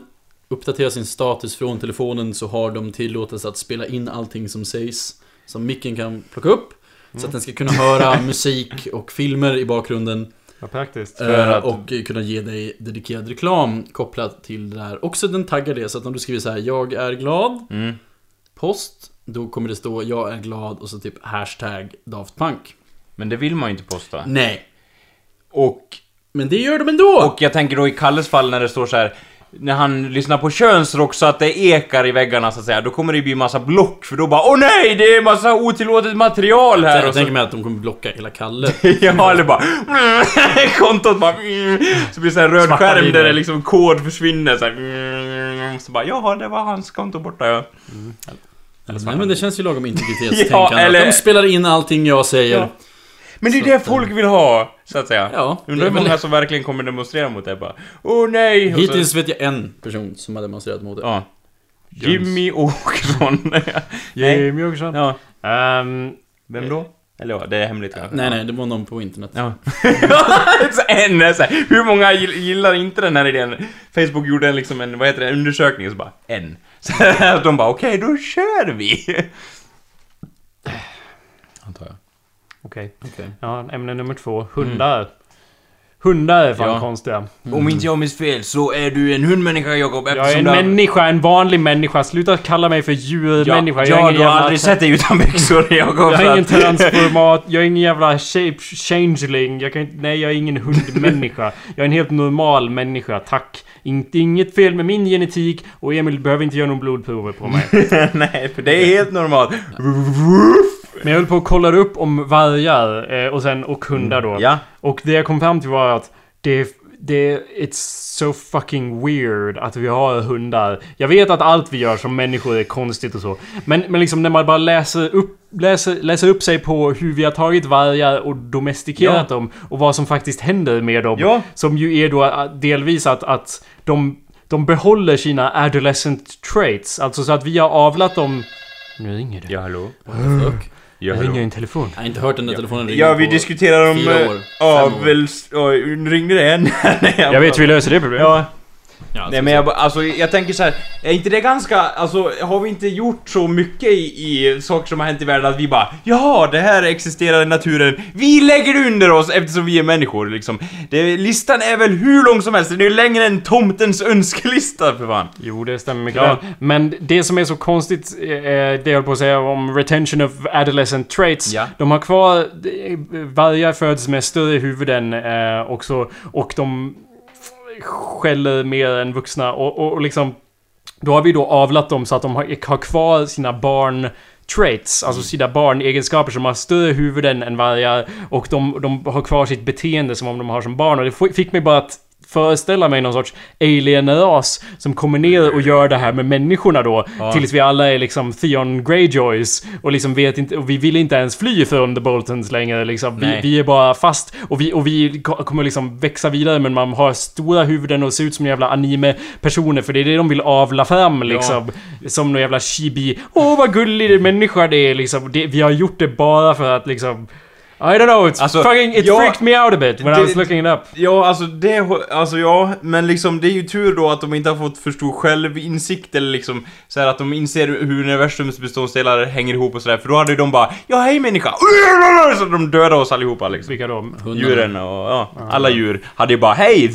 Speaker 3: uppdaterar sin status från telefonen så har de tillåtelse att spela in allting som sägs. Som micken kan plocka upp. Så att
Speaker 2: Mm.
Speaker 3: den ska
Speaker 2: <laughs>
Speaker 3: kunna höra musik och filmer i bakgrunden.
Speaker 1: Vad praktiskt.
Speaker 2: För
Speaker 3: Eh,
Speaker 2: att-
Speaker 3: Och kunna ge dig dedikerad reklam kopplat till det där. Också den taggar det, så att om du skriver så här 'Jag är glad'
Speaker 2: Mm.
Speaker 3: Post Då kommer det stå 'Jag är glad' och så typ hashtag Daft Punk
Speaker 2: Men det vill man ju inte posta.
Speaker 3: Nej
Speaker 2: Och,
Speaker 3: Men det gör de ändå!
Speaker 2: och jag tänker då i Kalles fall när det står så här. När han lyssnar på könsrock så att det ekar i väggarna så att säga, då kommer det bli massa block för då bara Åh nej! Det är massa otillåtet material här!
Speaker 3: jag
Speaker 2: och så
Speaker 3: tänker mig att de kommer blocka hela Kalle
Speaker 2: <laughs> Ja, eller bara... Kontot bara... <laughs> Så blir det så här röd
Speaker 1: Svarta
Speaker 2: skärm där
Speaker 1: linjer.
Speaker 2: det liksom kod försvinner så här. Så bara, jaha, det var hans konto borta ja.
Speaker 3: Alltså, Nej men det känns ju lagom integritetstänkande
Speaker 2: <laughs> Ja,
Speaker 3: ja,
Speaker 2: eller-
Speaker 3: De spelar in allting jag säger
Speaker 2: Ja. Men det är det folk vill ha, så att säga.
Speaker 3: eh, Ja, det
Speaker 2: Undrar
Speaker 3: är
Speaker 2: hur
Speaker 3: väl-
Speaker 2: många som verkligen kommer demonstrera mot det bara. Åh nej! Och så-
Speaker 3: Hittills vet jag en person som har demonstrerat mot det
Speaker 2: Ja. Jimmy Åkesson. <laughs> nej.
Speaker 1: Jimmy Åkesson.
Speaker 2: Ja.
Speaker 1: Ehm,
Speaker 2: Vem då? Eller ja, det är hemligt kanske.
Speaker 3: Nej nej, det var någon på internet
Speaker 2: Ja. <laughs> så en är så här, hur många gill- gillar inte den här idén? Facebook gjorde en, liksom en vad heter det, undersökning och så bara en. Så <laughs> de bara okej, då kör vi! Antar jag.
Speaker 1: Okej.
Speaker 3: Okej.
Speaker 1: Ja, ämne nummer två. Hundar. Hundar är fan
Speaker 2: Mm. Ja.
Speaker 1: konstiga.
Speaker 2: Mm. Om inte jag minns fel så är du en hundmänniska Jakob
Speaker 1: Jag är en
Speaker 2: du har-
Speaker 1: människa, en vanlig människa. Sluta kalla mig för
Speaker 2: ja,
Speaker 1: djurmänniska.
Speaker 2: ja,
Speaker 1: jag är ingen
Speaker 2: du har
Speaker 1: jävla-
Speaker 2: aldrig sett dig
Speaker 1: <laughs>
Speaker 2: utan byxor Jakob.
Speaker 1: Jag
Speaker 2: så
Speaker 1: är ingen
Speaker 2: att-
Speaker 1: transformat, jag är ingen jävla shape changeling. Jag kan inte, nej, jag är ingen hundmänniska. Jag är en helt normal människa, tack. Inte, inget fel med min genetik och Emil behöver inte göra någon blodprover på mig.
Speaker 2: <laughs> Nej, för det är helt normalt. <laughs>
Speaker 1: Men jag höll på och kollade upp om vargar eh, och sen och hundar då.
Speaker 2: Mm, Ja.
Speaker 1: Och det jag kom fram till var att det, det it's so fucking weird att vi har hundar. Jag vet att allt vi gör som människor är konstigt och så. Men, men liksom när man bara läser upp, läser, läser upp sig på hur vi har tagit vargar och domestikerat dem och vad som faktiskt händer med dem.
Speaker 2: Ja.
Speaker 1: Som ju är då eh, delvis att, att de, de behåller sina adolescent traits. Alltså så att vi har avlat dem... Nu ringer det.
Speaker 2: Ja, hallå?
Speaker 3: Fuck.
Speaker 2: Ja,
Speaker 1: Jag ringer en telefon.
Speaker 3: Jag har inte hört den där telefonen ringa
Speaker 2: Ja, vi
Speaker 3: på-
Speaker 2: diskuterar om...
Speaker 3: fyra år,
Speaker 2: Ja,
Speaker 3: fem år.
Speaker 2: väl... Oj, ringde det en? <laughs> Nej,
Speaker 1: Jag vet hur vi löser det problemet.
Speaker 2: Ja.
Speaker 3: Ja,
Speaker 2: Nej men jag, bara- alltså, jag tänker så här, är inte det ganska, alltså har vi inte gjort så mycket i, i saker som har hänt i världen att vi bara ja det här existerar i naturen, vi lägger det under oss eftersom vi är människor liksom. Det, listan är väl hur lång som helst, den är ju längre än tomtens önskelista för fan.
Speaker 1: Jo, det stämmer mycket
Speaker 2: Ja.
Speaker 1: väl. Men det som är så konstigt, eh, det jag höll på att säga om retention of adolescent traits.
Speaker 2: Ja.
Speaker 1: De har kvar... eh, Vargar föds med större huvuden eh, och så. Och de skäller mer än vuxna. Och, och, och liksom... Då har vi då avlat dem så att de har, har kvar sina barn traits, alltså sina barnegenskaper som har större huvuden än vargar och de, de har kvar sitt beteende som om de har som barn och det f- fick mig bara att föreställa mig någon sorts alien-ras som kommer ner och gör det här med människorna då tills vi alla är liksom Theon Greyjoys och liksom vet inte och vi vill inte ens fly från The Boltons längre liksom. Vi,
Speaker 2: Nej.
Speaker 1: vi är bara fast och vi, och vi ko- kommer liksom växa vidare men man har stora huvuden och ser ut som jävla anime-personer för det är det de vill avla fram liksom. Som någon jävla chibi. Åh vad gullig det människa det är liksom. Det, vi har gjort det bara för att liksom... I don't know, it's
Speaker 2: Alltså,
Speaker 1: fucking... It
Speaker 2: ja,
Speaker 1: freaked me out a bit when I
Speaker 2: det-
Speaker 1: was looking it up.
Speaker 2: Ja, alltså det, alltså ja, men liksom det är ju tur då att de inte har fått för stor självinsikt eller liksom så här att de inser hur universums beståndsdelar hänger ihop och sådär, för då hade ju de bara Ja hej människa! <laughs> Så de dödade oss allihopa liksom.
Speaker 1: Vilka då?
Speaker 3: hundarna.
Speaker 2: Djuren och ja, alla djur hade ju bara hej!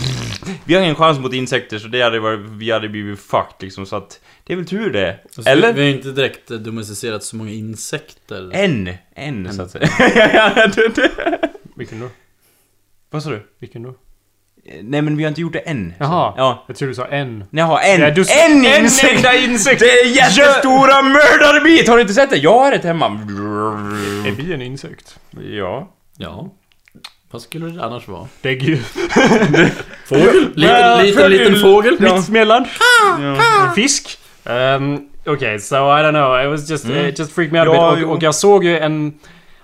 Speaker 2: Vi har ingen chans mot insekter så det hade varit, vi hade blivit fucked liksom så att det är väl tur det.
Speaker 3: Alltså,
Speaker 2: Eller?
Speaker 3: Vi har ju inte direkt eh, domesticerat så många insekter.
Speaker 2: En! En så att säga. <laughs> Ja, ja, det- det-
Speaker 1: Vilken då?
Speaker 2: Vad sa du?
Speaker 1: Vilken då?
Speaker 2: Nej men vi har inte gjort det än.
Speaker 1: Jaha.
Speaker 2: Ja.
Speaker 1: Jag tror du sa en.
Speaker 2: Jaha, en!
Speaker 1: Ja, du-
Speaker 2: en
Speaker 1: en
Speaker 2: insekt!
Speaker 1: enda insekt!
Speaker 2: Det är jättestora mördarbit! Har du inte sett det? Jag har ett hemma.
Speaker 1: Är vi en insekt?
Speaker 2: Ja.
Speaker 3: Ja. Vad skulle det annars vara?
Speaker 1: Däggdjur.
Speaker 3: Fågel? Liten,
Speaker 1: Ja,
Speaker 3: liten,
Speaker 1: fågel.
Speaker 3: liten fågel?
Speaker 1: Mittsmällan. En fisk. Um, Okej, so I don't know. It was just, it just freaked me out
Speaker 2: Mm. Ja,
Speaker 1: a bit.
Speaker 2: jo.
Speaker 1: Och, och jag såg ju en...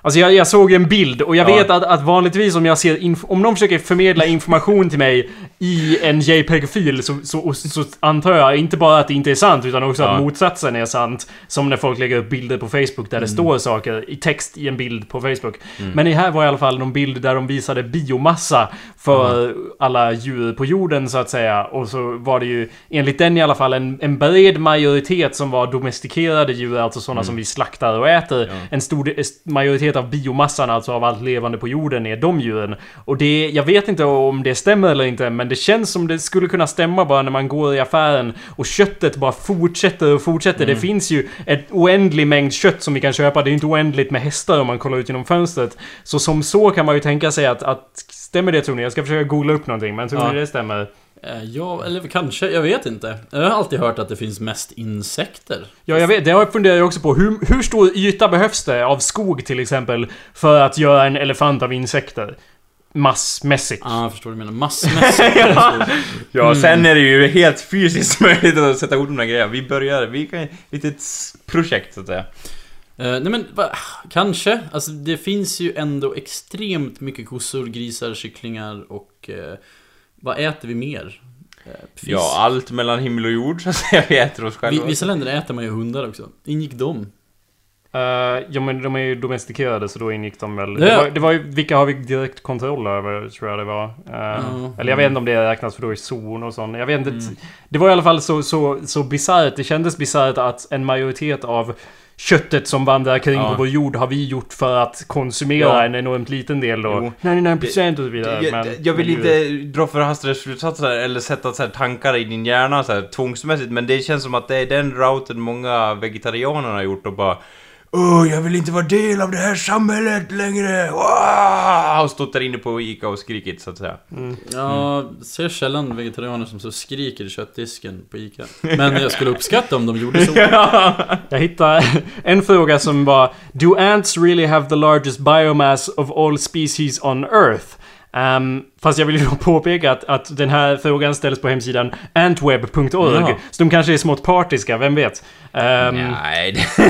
Speaker 1: Alltså jag, jag såg ju en bild och jag
Speaker 2: Ja.
Speaker 1: vet att, att vanligtvis om jag ser inf- om någon försöker förmedla information till mig i en JPEG-fil så, så, och- så antar jag inte bara att det inte är sant utan också att
Speaker 2: Ja.
Speaker 1: motsatsen är sant. Som när folk lägger upp bilder på Facebook där det står saker i text i en bild på Facebook. Men det här var i alla fall någon bild där de visade biomassa för alla djur på jorden så att säga. Och så var det ju enligt den i alla fall en, en bred majoritet som var domestikerade djur, alltså sådana som vi slaktar och äter. En stor de- s- majoritet av biomassan, alltså av allt levande på jorden, är de djuren. Och det, jag vet inte om det stämmer eller inte, men det känns som det skulle kunna stämma bara när man går i affären och köttet bara fortsätter och fortsätter. Det finns ju ett oändlig mängd kött som vi kan köpa. Det är ju inte oändligt med hästar om man kollar ut genom fönstret. Så som så kan man ju tänka sig att, att stämmer det tror ni? Jag ska försöka googla upp någonting, men tror
Speaker 3: Ja.
Speaker 1: ni det stämmer?
Speaker 3: Eh, Ja, eller kanske. Jag vet inte. Jag har alltid hört att det finns mest insekter.
Speaker 1: Ja, jag vet. Det har jag funderat också på. Hur, hur stor yta behövs det av skog till exempel för att göra en elefant av insekter? Massmässigt.
Speaker 3: Ah, jag förstår vad du menar. Massmässigt. ja.
Speaker 2: Ja, sen är det ju helt fysiskt <laughs> möjligt att sätta ord på de här grejerna. Vi börjar, vi kan, litet s- projekt så att säga.
Speaker 3: Eh, nej men, va, kanske. Alltså det finns ju ändå extremt mycket kossor, grisar, kycklingar och... Eh, vad äter vi mer? Eh, fisk.
Speaker 2: Ja, allt mellan himmel och jord <laughs> så att säga. Vi äter oss
Speaker 3: Vi,
Speaker 2: själva.
Speaker 3: vissa länder äter man ju hundar också. Ingick de?
Speaker 1: Eh, ja, men de är ju domestikerade så då ingick de väl.
Speaker 3: Ja.
Speaker 1: Det, var, det var ju vilka har vi direkt kontroll över tror jag det var. Eh,
Speaker 3: Ja.
Speaker 1: Eller jag vet inte om det räknas för då är zon och sånt. Jag vet inte.
Speaker 2: Mm.
Speaker 1: Det var i alla fall så, så, så bisarrt. Det kändes bisarrt att en majoritet av köttet som vandrar kring
Speaker 2: Ja.
Speaker 1: på vår jord har vi gjort för att konsumera
Speaker 2: Ja.
Speaker 1: en enormt liten del då.
Speaker 2: Jo.
Speaker 1: 99% och så vidare.
Speaker 2: Jag,
Speaker 1: men,
Speaker 2: jag vill
Speaker 1: men ju-
Speaker 2: inte dra förhastade slutsatser eller sätta så här tankar i din hjärna så här, tvångsmässigt men det känns som att det är den routen många vegetarianer har gjort och bara Åh, jag vill inte vara del av det här samhället längre! Wow! Och stått där inne på Ica och skrikit så att säga.
Speaker 1: Mm.
Speaker 3: Ja,
Speaker 2: Mm.
Speaker 3: ser sällan vegetarianer som så skriker i köttdisken på ICA. Men jag skulle uppskatta om
Speaker 2: <laughs>
Speaker 3: de gjorde så.
Speaker 1: Jag hittade en fråga som var Do ants really have the largest biomass of all species on earth? Ehm, fast jag vill ju då påpeka att, att den här frågan ställs på hemsidan antweb.org.
Speaker 3: Ja.
Speaker 1: Så de kanske är smått partiska, vem vet? Ehm,
Speaker 2: Nej, det...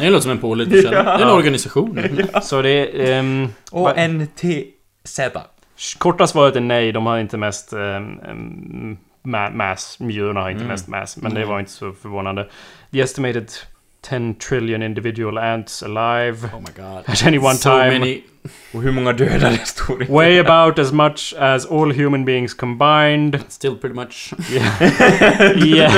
Speaker 3: Det låter som en pålitlig källa. Det är
Speaker 2: <laughs>
Speaker 3: en organisation.
Speaker 1: Så det... Um,
Speaker 2: Och NTZ.
Speaker 1: korta svaret är nej, de har inte mest... ehm,
Speaker 3: Mm.
Speaker 1: ehm, ma- mass, mjölorna har inte mest mass. Men det var inte så förvånande. The estimated 10 trillion individual ants alive
Speaker 3: Oh my god.
Speaker 1: at any one
Speaker 3: so
Speaker 1: time.
Speaker 3: Many...
Speaker 2: Och hur många dödade stod det?
Speaker 1: Weigh about as much as all human beings
Speaker 2: <laughs>
Speaker 1: combined.
Speaker 3: Still pretty much.
Speaker 1: Yeah.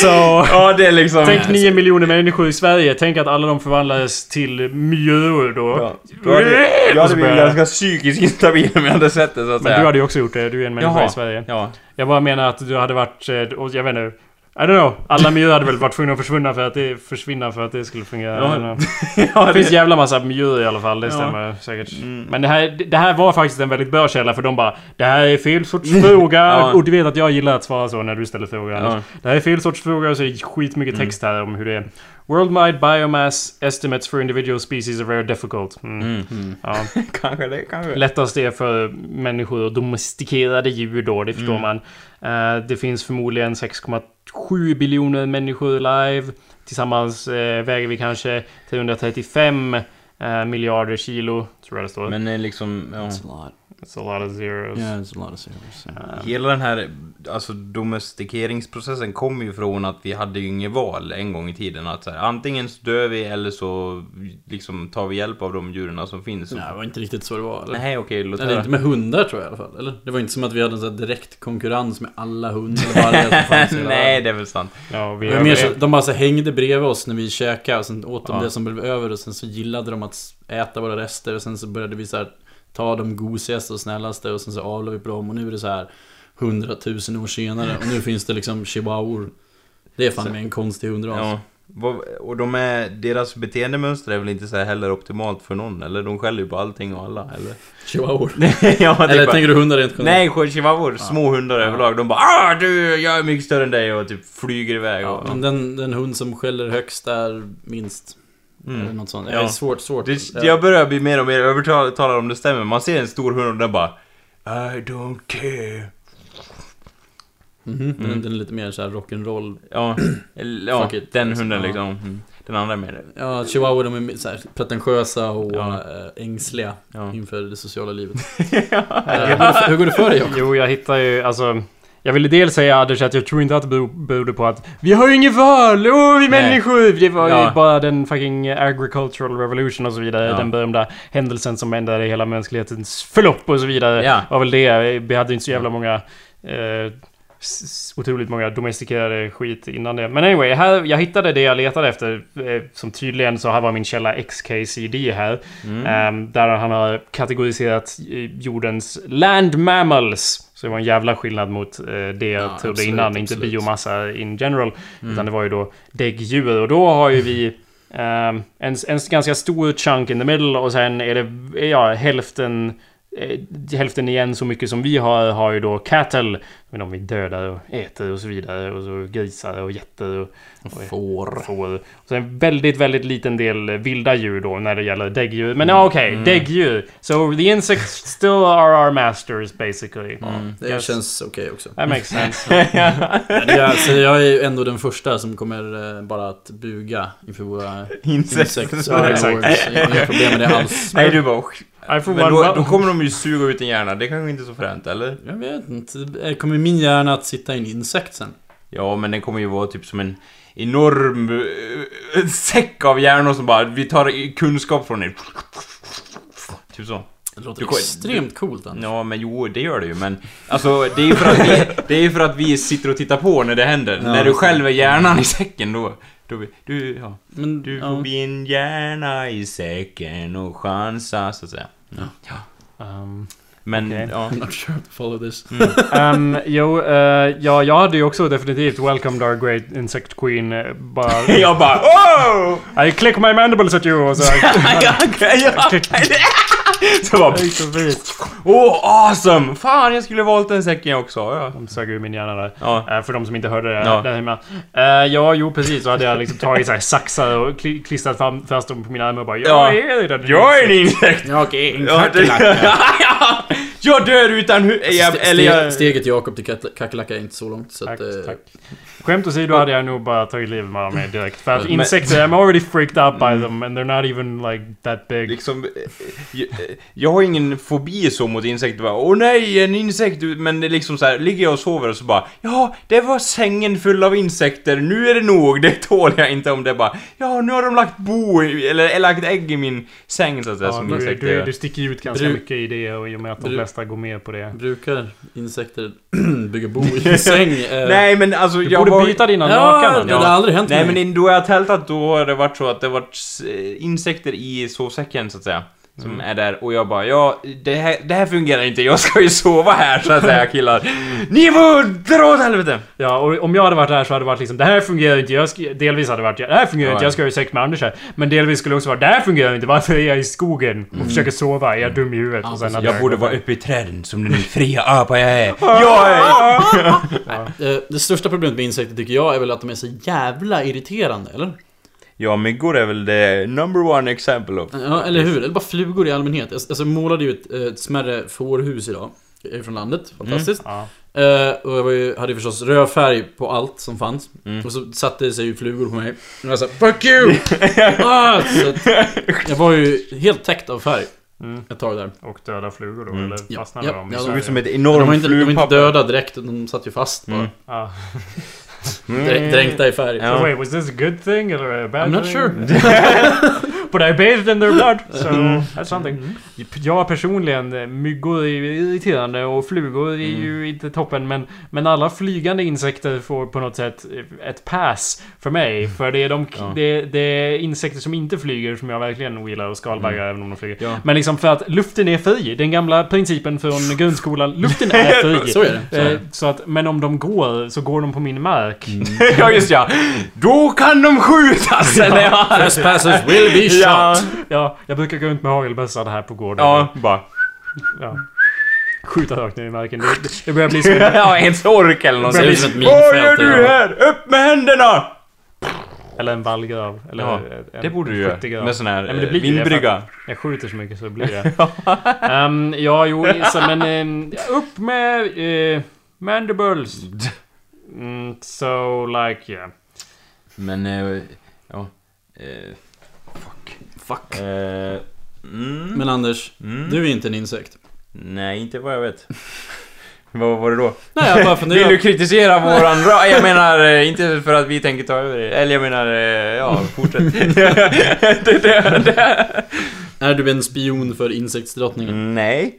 Speaker 1: So...
Speaker 2: Ja, det är liksom...
Speaker 1: Tänk 9 miljoner människor i Sverige. Tänk att alla de förvandlades till myror då.
Speaker 2: Ja, då hade, jag
Speaker 1: Och så
Speaker 2: hade blivit
Speaker 1: börjar-
Speaker 2: ganska psykiskt <laughs> instabil om jag hade sett det så att
Speaker 1: Men
Speaker 2: säga.
Speaker 1: du hade ju också gjort det. Du är en människa
Speaker 2: Jaha.
Speaker 1: i Sverige.
Speaker 2: <laughs> Ja.
Speaker 1: Jag bara menar att du hade varit... eh, Och jag vet inte. I don't know. Alla myror hade väl varit tvungna att försvinna för att det, försvinna för att det skulle fungera.
Speaker 2: Ja.
Speaker 1: I don't know.
Speaker 2: Ja,
Speaker 1: Det
Speaker 2: det-
Speaker 1: finns jävla massa myror i alla fall. Det
Speaker 2: Ja.
Speaker 1: stämmer säkert.
Speaker 2: Mm.
Speaker 1: Men det här, det här var faktiskt en väldigt bra källa för de bara Det här är fel sorts fråga.
Speaker 2: <laughs> Ja.
Speaker 1: Och du vet att jag gillar att svara så när du ställer frågor Anders.
Speaker 2: Ja. Mm.
Speaker 1: Det här är fel sorts fråga och så är det skitmycket text här om hur det är. Worldwide biomass estimates for individual species are very difficult. Mm.
Speaker 2: Mm.
Speaker 1: Ja.
Speaker 2: <laughs> Kanske det, kanske.
Speaker 1: Lättast är för människor och domestikerade djur då, det förstår
Speaker 3: Mm.
Speaker 1: man. Eh, det finns förmodligen 6,7 biljoner människor live. Tillsammans eh, väger vi kanske 335 eh, miljarder kilo, tror jag det står.
Speaker 2: Men eh, liksom, ja.
Speaker 3: That's a lot.
Speaker 1: It's a lot of zeros.
Speaker 3: Yeah, it's a lot of zeros.
Speaker 2: Hela den här alltså, domestikeringsprocessen kommer ju från att vi hade ju inget val en gång i tiden. Att så här, antingen så dör vi eller så liksom, tar vi hjälp av de djuren som finns.
Speaker 3: Nej, det var inte riktigt så det var. Eller?
Speaker 2: Nej, okej, låt
Speaker 3: Eller
Speaker 2: höra.
Speaker 3: inte med hundar tror jag i alla fall, eller? Det var inte som att vi hade en sån här direkt konkurrens med alla hundar och vargar som
Speaker 2: <laughs>
Speaker 3: fanns i hela
Speaker 2: Nej,
Speaker 3: världen.
Speaker 2: det är väl sant.
Speaker 1: Ja, vi
Speaker 3: Det var mer så, de bara så hängde bredvid oss när vi käkade och sen åt de
Speaker 2: Ja.
Speaker 3: det som blev över och sen så gillade de att äta våra rester och sen så började vi så här ta de gosigaste och snällaste och sen så avlade vi på dem och nu är det så här hundratusen år senare och nu finns det liksom chihuahuor. Det är fan med en konstig hundras.
Speaker 2: Ja. Vad- Och de är, deras beteendemönster är väl inte så här heller optimalt för någon? Eller de skäller ju på allting och alla, eller? <laughs>
Speaker 3: Chihuahuor.
Speaker 2: ja, typ
Speaker 3: Eller
Speaker 2: bara-
Speaker 3: tänker du hundar rent generellt?
Speaker 2: Nej, chihuahuor, små hundar överlag. De bara ah, du, jag är mycket större än dig och typ flyger iväg.
Speaker 3: Ja,
Speaker 2: och,
Speaker 3: men den, den hund som skäller högst är minst. Eller något sånt. Det är
Speaker 2: Ja.
Speaker 3: svårt, svårt.
Speaker 2: Det,
Speaker 3: Ja.
Speaker 2: jag börjar bli mer och mer övertalad om det stämmer. Man ser en stor hund och den bara I don't care.
Speaker 3: Mhm. Den, den är lite mer såhär rock'n'roll.
Speaker 2: Ja, eller, ja
Speaker 3: Fuck it.
Speaker 2: den
Speaker 3: Liksom,
Speaker 2: hunden
Speaker 3: ja.
Speaker 2: liksom. Mm. Den andra är mer...
Speaker 3: Ja, chihuahua de är så här pretentiösa och
Speaker 2: Ja.
Speaker 3: eh, ängsliga
Speaker 2: Ja.
Speaker 3: inför det sociala livet. Eh, hur, går det- hur går det för dig Jakob?
Speaker 1: Jo, jag hittar ju alltså... Jag ville dels säga Anders att jag tror inte att det beror- berodde på att vi har ju inget val, oh, vi människor! Det var ju
Speaker 2: Ja.
Speaker 1: bara den fucking agricultural revolution och så vidare.
Speaker 2: Ja.
Speaker 1: Den berömda händelsen som ändrade hela mänsklighetens förlopp och så vidare.
Speaker 2: Ja.
Speaker 1: Var väl det. Vi hade ju inte så jävla många... Eh, s- s- otroligt många domestikerade skit innan det. Men anyway, här, jag hittade det jag letade efter. Eh, som tydligen så här var min källa XKCD här.
Speaker 3: Mm.
Speaker 1: Ehm, där han har kategoriserat eh, jordens land mammals. Så det var en jävla skillnad mot eh, det jag
Speaker 3: Ja,
Speaker 1: trodde
Speaker 3: absolut,
Speaker 1: innan. Inte
Speaker 3: absolut. Mm.
Speaker 1: biomassa in general. Utan det var ju då däggdjur. Och då har ju vi ehm, en, en ganska stor chunk in the middle och sen är det ja, hälften eh, Hälften igen så mycket som vi har har ju då cattle. Men de vi dödar och äter och så vidare. Och så grisar och getter och
Speaker 3: Får.
Speaker 1: får. Och sen en väldigt, väldigt liten del vilda djur då när det gäller däggdjur. Men ja, okej, däggdjur. So the insects still are our masters basically.
Speaker 3: Mm, Det
Speaker 1: Yes.
Speaker 3: känns okej också.
Speaker 1: That makes sense.
Speaker 3: Jag, så jag är ju ändå den första som kommer eh, bara att buga inför våra
Speaker 2: Insekter.
Speaker 3: insekter.
Speaker 2: <laughs>
Speaker 1: Ja, exakt.
Speaker 3: Jag har inga problem med det alls.
Speaker 2: Nej, du bara...
Speaker 1: I for
Speaker 2: Men
Speaker 1: one
Speaker 2: då, då
Speaker 1: mo-
Speaker 2: kommer de ju suga ut en hjärna. Det kanske inte är så fränt, eller?
Speaker 3: Jag vet inte. Kommer min hjärna att sitta i en insekt sen?
Speaker 2: Ja, men den kommer ju vara typ som en enorm eh, säck av hjärnor som bara... Vi tar i- kunskap från er. Typ så.
Speaker 3: Det låter
Speaker 2: Du kommer-
Speaker 3: extremt coolt Anders.
Speaker 2: Ja, men jo, det gör det ju, men... Alltså, det är ju för att vi, det är ju för att vi sitter och tittar på när det händer.
Speaker 3: Ja.
Speaker 2: när du själv är hjärnan i säcken, då... då vi- du, ja.
Speaker 3: Men,
Speaker 2: Du
Speaker 3: ja.
Speaker 2: får bli en hjärna i säcken och chansa, så att säga.
Speaker 1: Um,
Speaker 2: Men,
Speaker 1: Okej.
Speaker 2: ja. <laughs>
Speaker 3: I'm <laughs> not sure to follow this.
Speaker 2: Mm.
Speaker 3: <laughs>
Speaker 1: um, jo, eh, ja, jag hade ju också definitivt welcomed our great insect queen. eh, Bara,
Speaker 2: Jag bara
Speaker 3: <laughs>
Speaker 2: oh!
Speaker 1: I click my mandibles at you och så...
Speaker 2: <laughs> Så bara
Speaker 1: Oj, så fint.
Speaker 2: oh, awesome! Fan, jag skulle valt den säcken jag också. Ja.
Speaker 1: De sög ur min hjärna där.
Speaker 2: ja.
Speaker 1: Eh, För de som inte hörde det.
Speaker 2: Ja.
Speaker 1: Där hemma. Eh, ja, jo precis. Så hade jag liksom tagit så här saxar och kli- klistrat fram, fast dem på mina armar och bara Jag
Speaker 2: Ja.
Speaker 1: är den.
Speaker 2: Jag är en insekt!
Speaker 3: Ja, okej.
Speaker 2: Ja, det- Ja, ja. <laughs> Jag dör utan huvud... Jag,
Speaker 3: Ste-
Speaker 2: eller jag...
Speaker 3: Steget Jakob till kackla- kackerlacka är inte så långt. Så
Speaker 1: Tack,
Speaker 3: att, eh,
Speaker 1: tack. Skämt åsido hade jag nog bara tagit livet av mig direkt. För att
Speaker 3: Men-
Speaker 1: insekter, I'm already freaked out by them and they're not even like that big.
Speaker 2: Liksom, eh, jag, eh, jag har ingen fobi så mot insekter. Bara, Åh nej, en insekt! Men det är liksom så här, ligger jag och sover och så bara Ja, det var sängen full av insekter, nu är det nog, det tål jag inte om det bara Ja, nu har de lagt bo, i- eller, eller lagt ägg i min säng så att säga,
Speaker 1: Ja,
Speaker 2: som
Speaker 1: du,
Speaker 2: insekter
Speaker 1: du,
Speaker 2: gör.
Speaker 1: du sticker ju ut ganska
Speaker 3: Bru-
Speaker 1: mycket i det och i och med att de
Speaker 3: Bru-
Speaker 1: flesta går med på det.
Speaker 3: Brukar insekter <clears throat> bygga bo i
Speaker 2: <laughs>
Speaker 3: en säng? eh,
Speaker 2: Nej men alltså
Speaker 1: Du
Speaker 2: jag
Speaker 1: borde
Speaker 2: var...
Speaker 1: byta dina
Speaker 3: ja,
Speaker 1: lakan.
Speaker 3: det har aldrig hänt
Speaker 2: Nej
Speaker 3: mig.
Speaker 2: men in- då jag har tältat då har det varit så att det har varit eh, insekter i sovsäcken så att säga. Som är där och jag bara ja, det här, det här fungerar inte, jag ska ju sova här så att säga killar. Ni får dra åt helvete!
Speaker 1: Ja, och om jag hade varit där så hade det varit liksom Det här fungerar inte. Jag ska, delvis hade det varit Det här fungerar
Speaker 2: Ja,
Speaker 1: inte.
Speaker 2: ja.
Speaker 1: Jag ska ha sex med Anders här. Men delvis skulle det också vara Det här fungerar inte. Varför är jag i skogen och försöker sova? Är jag dum i huvudet?
Speaker 3: Ja,
Speaker 1: och sen
Speaker 3: precis.
Speaker 1: hade
Speaker 2: Jag
Speaker 1: det-
Speaker 2: borde vara uppe i träden som den fria apa <laughs> jag är. Jag är...
Speaker 3: Eh, Det största problemet med insekter tycker jag är väl att de är så jävla irriterande, eller?
Speaker 2: Ja, myggor är väl det number one example of.
Speaker 3: Ja, eller hur? Eller bara flugor i allmänhet. Jag alltså, jag målade ju ett, eh, ett smärre fårhus idag. Jag är från landet,
Speaker 2: Mm.
Speaker 3: fantastiskt.
Speaker 1: Ja.
Speaker 3: Eh, och jag var ju, hade ju förstås röd färg på allt som fanns.
Speaker 2: Mm.
Speaker 3: Och så satte sig ju flugor på mig. Och
Speaker 2: alltså,
Speaker 3: jag sa 'Fuck you!' ah,
Speaker 2: <laughs>
Speaker 3: så att jag var ju helt täckt av färg. Ett tag där.
Speaker 1: mm, Och döda flugor då, eller
Speaker 3: Ja.
Speaker 1: fastnade
Speaker 3: Ja.
Speaker 1: de? i
Speaker 3: Ja, de-
Speaker 2: Det
Speaker 1: Sverige?
Speaker 2: ser ut som ett
Speaker 3: De var,
Speaker 2: enormt
Speaker 3: inte, de var inte
Speaker 2: flugpapper.
Speaker 3: döda direkt, de satt ju fast bara.
Speaker 2: Mm.
Speaker 1: Ja.
Speaker 3: Drä- Dränkta i färg.
Speaker 2: Ja.
Speaker 1: So wait, was this a good thing or a bad
Speaker 3: Oh. I'm not
Speaker 1: thing?
Speaker 3: sure.
Speaker 1: <laughs> But I bathed in their blood, so
Speaker 3: Mm.
Speaker 1: that's something. Jag personligen, eh, myggor är ju irriterande och flugor är
Speaker 3: Mm.
Speaker 1: ju inte toppen men, men alla flygande insekter får på något sätt eh, ett pass för mig. För det är de
Speaker 3: Mm. Ja.
Speaker 1: det, det är insekter som inte flyger som jag verkligen ogillar och skalbaggar även om de flyger.
Speaker 3: Mm. Ja.
Speaker 1: Men liksom för att luften är fri. Den gamla principen
Speaker 3: <laughs>
Speaker 1: från grundskolan, luften är fri.
Speaker 3: Så är det. Mm. Så är
Speaker 1: Eh,
Speaker 3: det.
Speaker 1: Så att, men om de går så går de på min mark.
Speaker 2: <laughs> ja, just ja. Då kan de skjutas! Eller ja.
Speaker 3: Trespassers will be shot.
Speaker 2: Ja,
Speaker 1: Ja, jag brukar gå runt med hagelbössa här på gården.
Speaker 2: ja bara.
Speaker 1: Ja. Skjuta rakt ner i marken. Det, det börjar bli <laughs> som...
Speaker 2: <laughs> Ja, en sork eller
Speaker 3: Det ser ut
Speaker 2: någonting.
Speaker 3: som ett
Speaker 2: Vad gör
Speaker 3: minfält.
Speaker 2: du
Speaker 3: eller något.
Speaker 2: här? Upp med händerna!
Speaker 1: Eller en vallgrav. Eller
Speaker 2: Ja,
Speaker 1: en,
Speaker 2: Det borde du
Speaker 1: en
Speaker 2: göra.
Speaker 1: skyttegrav.
Speaker 2: Med sån här
Speaker 1: Ja, men det
Speaker 2: eh,
Speaker 1: blir ju det,
Speaker 2: vindbrygga.
Speaker 1: Jag skjuter så mycket så det blir
Speaker 2: <laughs>
Speaker 1: det. Ehm, ja, jo, så, men... ehm, upp med... eh, mandibles. Mm, so, like,
Speaker 2: <laughs>
Speaker 1: yeah.
Speaker 2: Men, eh, ja. eh, Fuck.
Speaker 3: Fuck.
Speaker 2: Eh, Mm.
Speaker 3: Men Anders,
Speaker 2: Mm.
Speaker 3: du är inte en insekt.
Speaker 2: Nej, inte vad jag vet. <laughs> vad var det då?
Speaker 3: Nej, jag bara
Speaker 2: Vill du
Speaker 3: funderar.
Speaker 2: kritisera våran ra- Jag menar, eh, inte för att vi tänker ta över det. Eller jag menar, eh, ja, fortsätt. <laughs> det, det, det.
Speaker 3: Är du en spion för insektsdrottningen?
Speaker 2: Mm. Nej.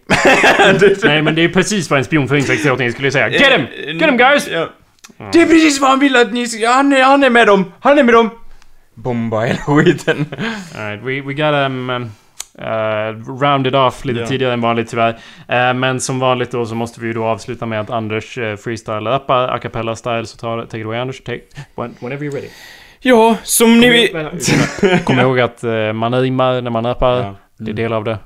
Speaker 1: Nej, men det är precis vad en spion för insektsdrottningen skulle säga. Get him! Get him guys!
Speaker 2: Eh, Ja. Det är precis vad han vill att ni ska... Han är, han är med dem! Han är med dem! Bomba hela skiten.
Speaker 1: Alright, we, we got um, um, uh, rounded off lite
Speaker 2: Ja.
Speaker 1: tidigare än vanligt tyvärr. Eh, men som vanligt då så måste vi ju då avsluta med att Anders uh, freestyle-rappar a cappella style. Så ta, take it away Anders. Take, when, whenever you're ready.
Speaker 2: Ja, som ni vet...
Speaker 1: Vänta, ursäkta. Kom ihåg att eh, man rimmar när man rappar.
Speaker 2: Ja.
Speaker 1: Det är del av det.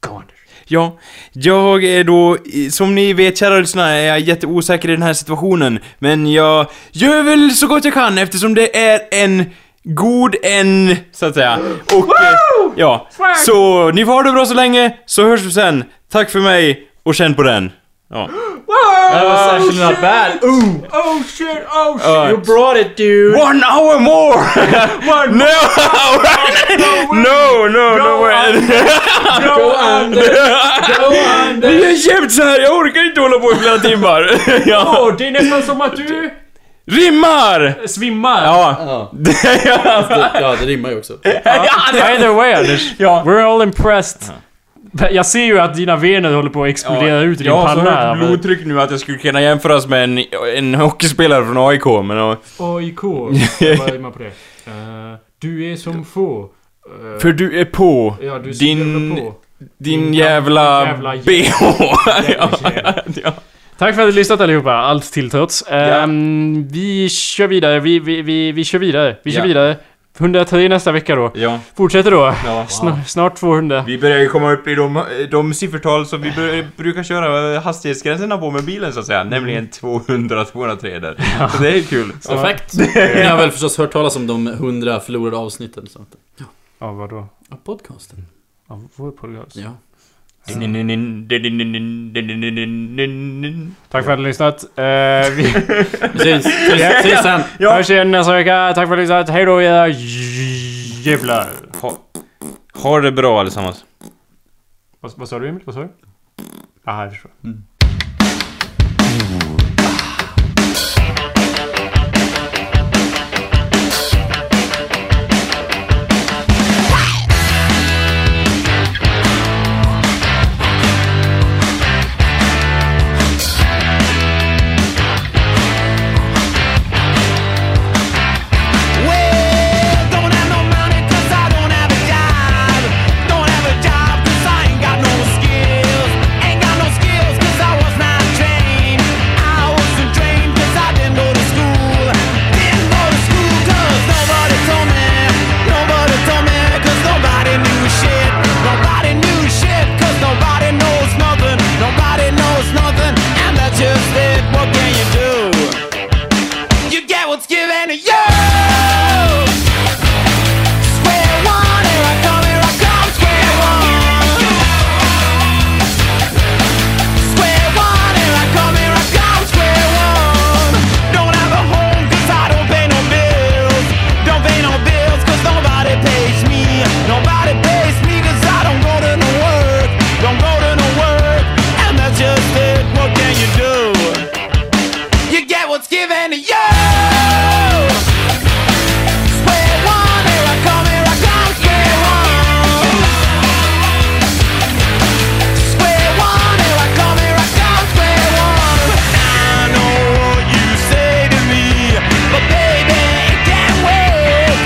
Speaker 1: Go Anders.
Speaker 2: Ja, jag är då, som ni vet kära lyssnare, är jag jätteosäker i den här situationen. Men jag gör väl så gott jag kan eftersom det är en god en, så att säga. Och, eh, ja. Så ni får ha det bra så länge, så hörs vi sen. Tack för mig, och känn på den. Ja. Ah.
Speaker 3: That was actually not bad.
Speaker 2: Oh,
Speaker 3: Ooh.
Speaker 2: Uh,
Speaker 3: brought it dude!
Speaker 2: one hour more! one <laughs> no! <laughs> no, no, no <laughs> way!
Speaker 3: Go under! Go under!
Speaker 2: Det är jämt så här, jag orkar inte hålla på i flera timmar. <laughs> ja.
Speaker 1: det är nästan som att du
Speaker 2: Rimmar!
Speaker 1: svimmar!
Speaker 2: Ja.
Speaker 3: Ja,
Speaker 2: Det- ja.
Speaker 3: det- ja, det rimmar ju också.
Speaker 1: Either way Anders.
Speaker 2: Ja.
Speaker 1: We're all impressed. Jag ser ju att dina vener håller på att explodera ut i din
Speaker 2: jag
Speaker 1: panna.
Speaker 2: Jag har
Speaker 1: här,
Speaker 2: så
Speaker 1: men-
Speaker 2: högt blodtryck nu att jag skulle kunna jämföras med en, en hockeyspelare från AIK, men... ja.
Speaker 1: AIK.
Speaker 2: <laughs>
Speaker 1: Jag bara rimmar på det. Eh, du är som få. Eh,
Speaker 2: För du är på
Speaker 1: ja, du är som
Speaker 2: din-
Speaker 1: jävla på.
Speaker 2: din
Speaker 1: din
Speaker 2: jävla,
Speaker 1: jävla
Speaker 2: bh. ja,
Speaker 1: jävla
Speaker 2: ja.
Speaker 1: Tack för att ni lyssnat allihopa, allt till trots. Ehm, Vi kör vidare, vi, vi, vi, vi kör vidare, vi kör
Speaker 2: Ja.
Speaker 1: vidare. 103 nästa vecka då.
Speaker 2: ja.
Speaker 1: Fortsätter då.
Speaker 2: ja.
Speaker 1: Snar, snart 200.
Speaker 2: Vi börjar ju komma upp i de, de siffertal som vi bör, brukar köra hastighetsgränserna på med bilen så att säga, nämligen 200-203 där. Så det är kul.
Speaker 3: Perfekt. Ni har väl förstås hört talas om de hundra förlorade avsnitten? Så. att-
Speaker 1: Ja, vadå?
Speaker 3: Ja, podcasten.
Speaker 1: Ja, vår podcast.
Speaker 3: Ja.
Speaker 4: Tack för att ni har lyssnat. Eh, vi
Speaker 2: <laughs>
Speaker 3: Syns, syns, syns sen.
Speaker 4: hörs igen nästa vecka. Tack för att ni har lyssnat. Hej då era jävlar.
Speaker 2: Ha, ha det bra allesammans.
Speaker 4: Vad, vad sa du Emil? Vad sa du?
Speaker 2: Mm.
Speaker 4: Jaha, jag förstår.
Speaker 5: Well, don't have no money 'cause I don't have a job. Don't have a job 'cause I ain't got no skills. Ain't got no skills 'cause I was not trained. I wasn't trained 'cause I didn't go to school. Didn't go to school 'cause nobody told me. Nobody told me 'cause nobody knew shit. Nobody knew shit 'cause nobody knows nothing. Nobody knows nothing, and that's just it. What can you do? you get what's given to you. Square one, here I come, here I come, square one. Square one, here I come, here I come, square one. Don't have a home 'cause I don't pay no bills. Don't pay no bills 'cause nobody pays me. Nobody pays me 'cause I don't go to no work. Don't go to no work. And that's just it, what can you do? You get what's given to you. Square one, here I come, here I come, square one. Square one, here I come, here I come, square one. I know what you say to me, but baby, it can't wait.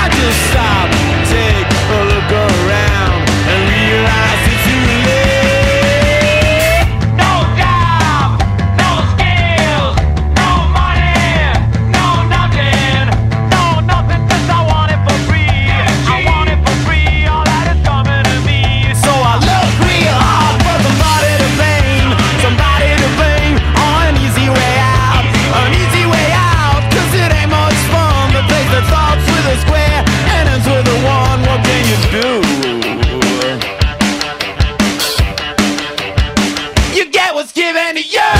Speaker 5: I just stop, take a look around, and realize it's too late. No job, no skills, no money, no nothing, no nothing 'cause I want it for free. I want it for free, all that is coming to me. So I look real hard for somebody to blame, somebody to blame on an easy way out, an easy way out 'cause it ain't much fun to place the thoughts with a square and ends with a one. What can you do? You get what's given to you.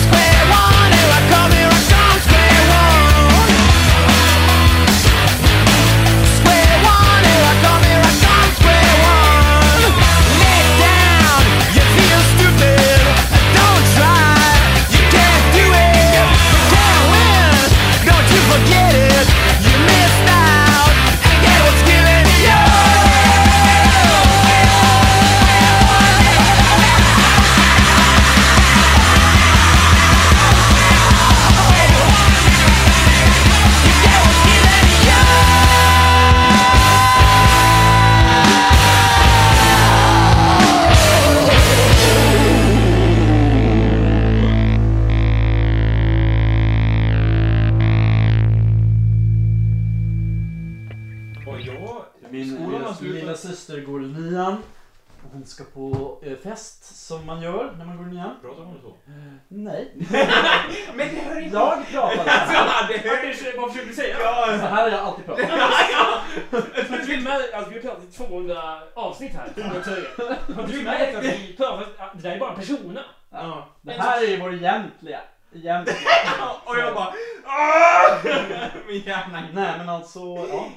Speaker 5: Square one, here I come, here I come, square one. Square one, here I come, here I come, square one. Let down, you feel stupid. Don't try, you can't do it. You can't win, don't you forget it. You missed out, and get what's given to you.
Speaker 3: Min lilla syster går i nian. Och Hon ska på eh, fest som man gör när man går i nian.
Speaker 2: Pratar hon så?
Speaker 4: <laughs>
Speaker 3: Nej. Men det hör inte Jag pratar så här.
Speaker 4: Vad försöker du säga?
Speaker 3: Så här har jag alltid pratat.
Speaker 4: Jag filmar, alltså vi har pratat i 200 avsnitt här. Jag filmar detta att vi pratar, det där är bara persona.
Speaker 3: Ja, Det här är ju vår egentliga. egentliga.
Speaker 2: Och jag bara... Min hjärna...
Speaker 3: Nej men alltså, ja.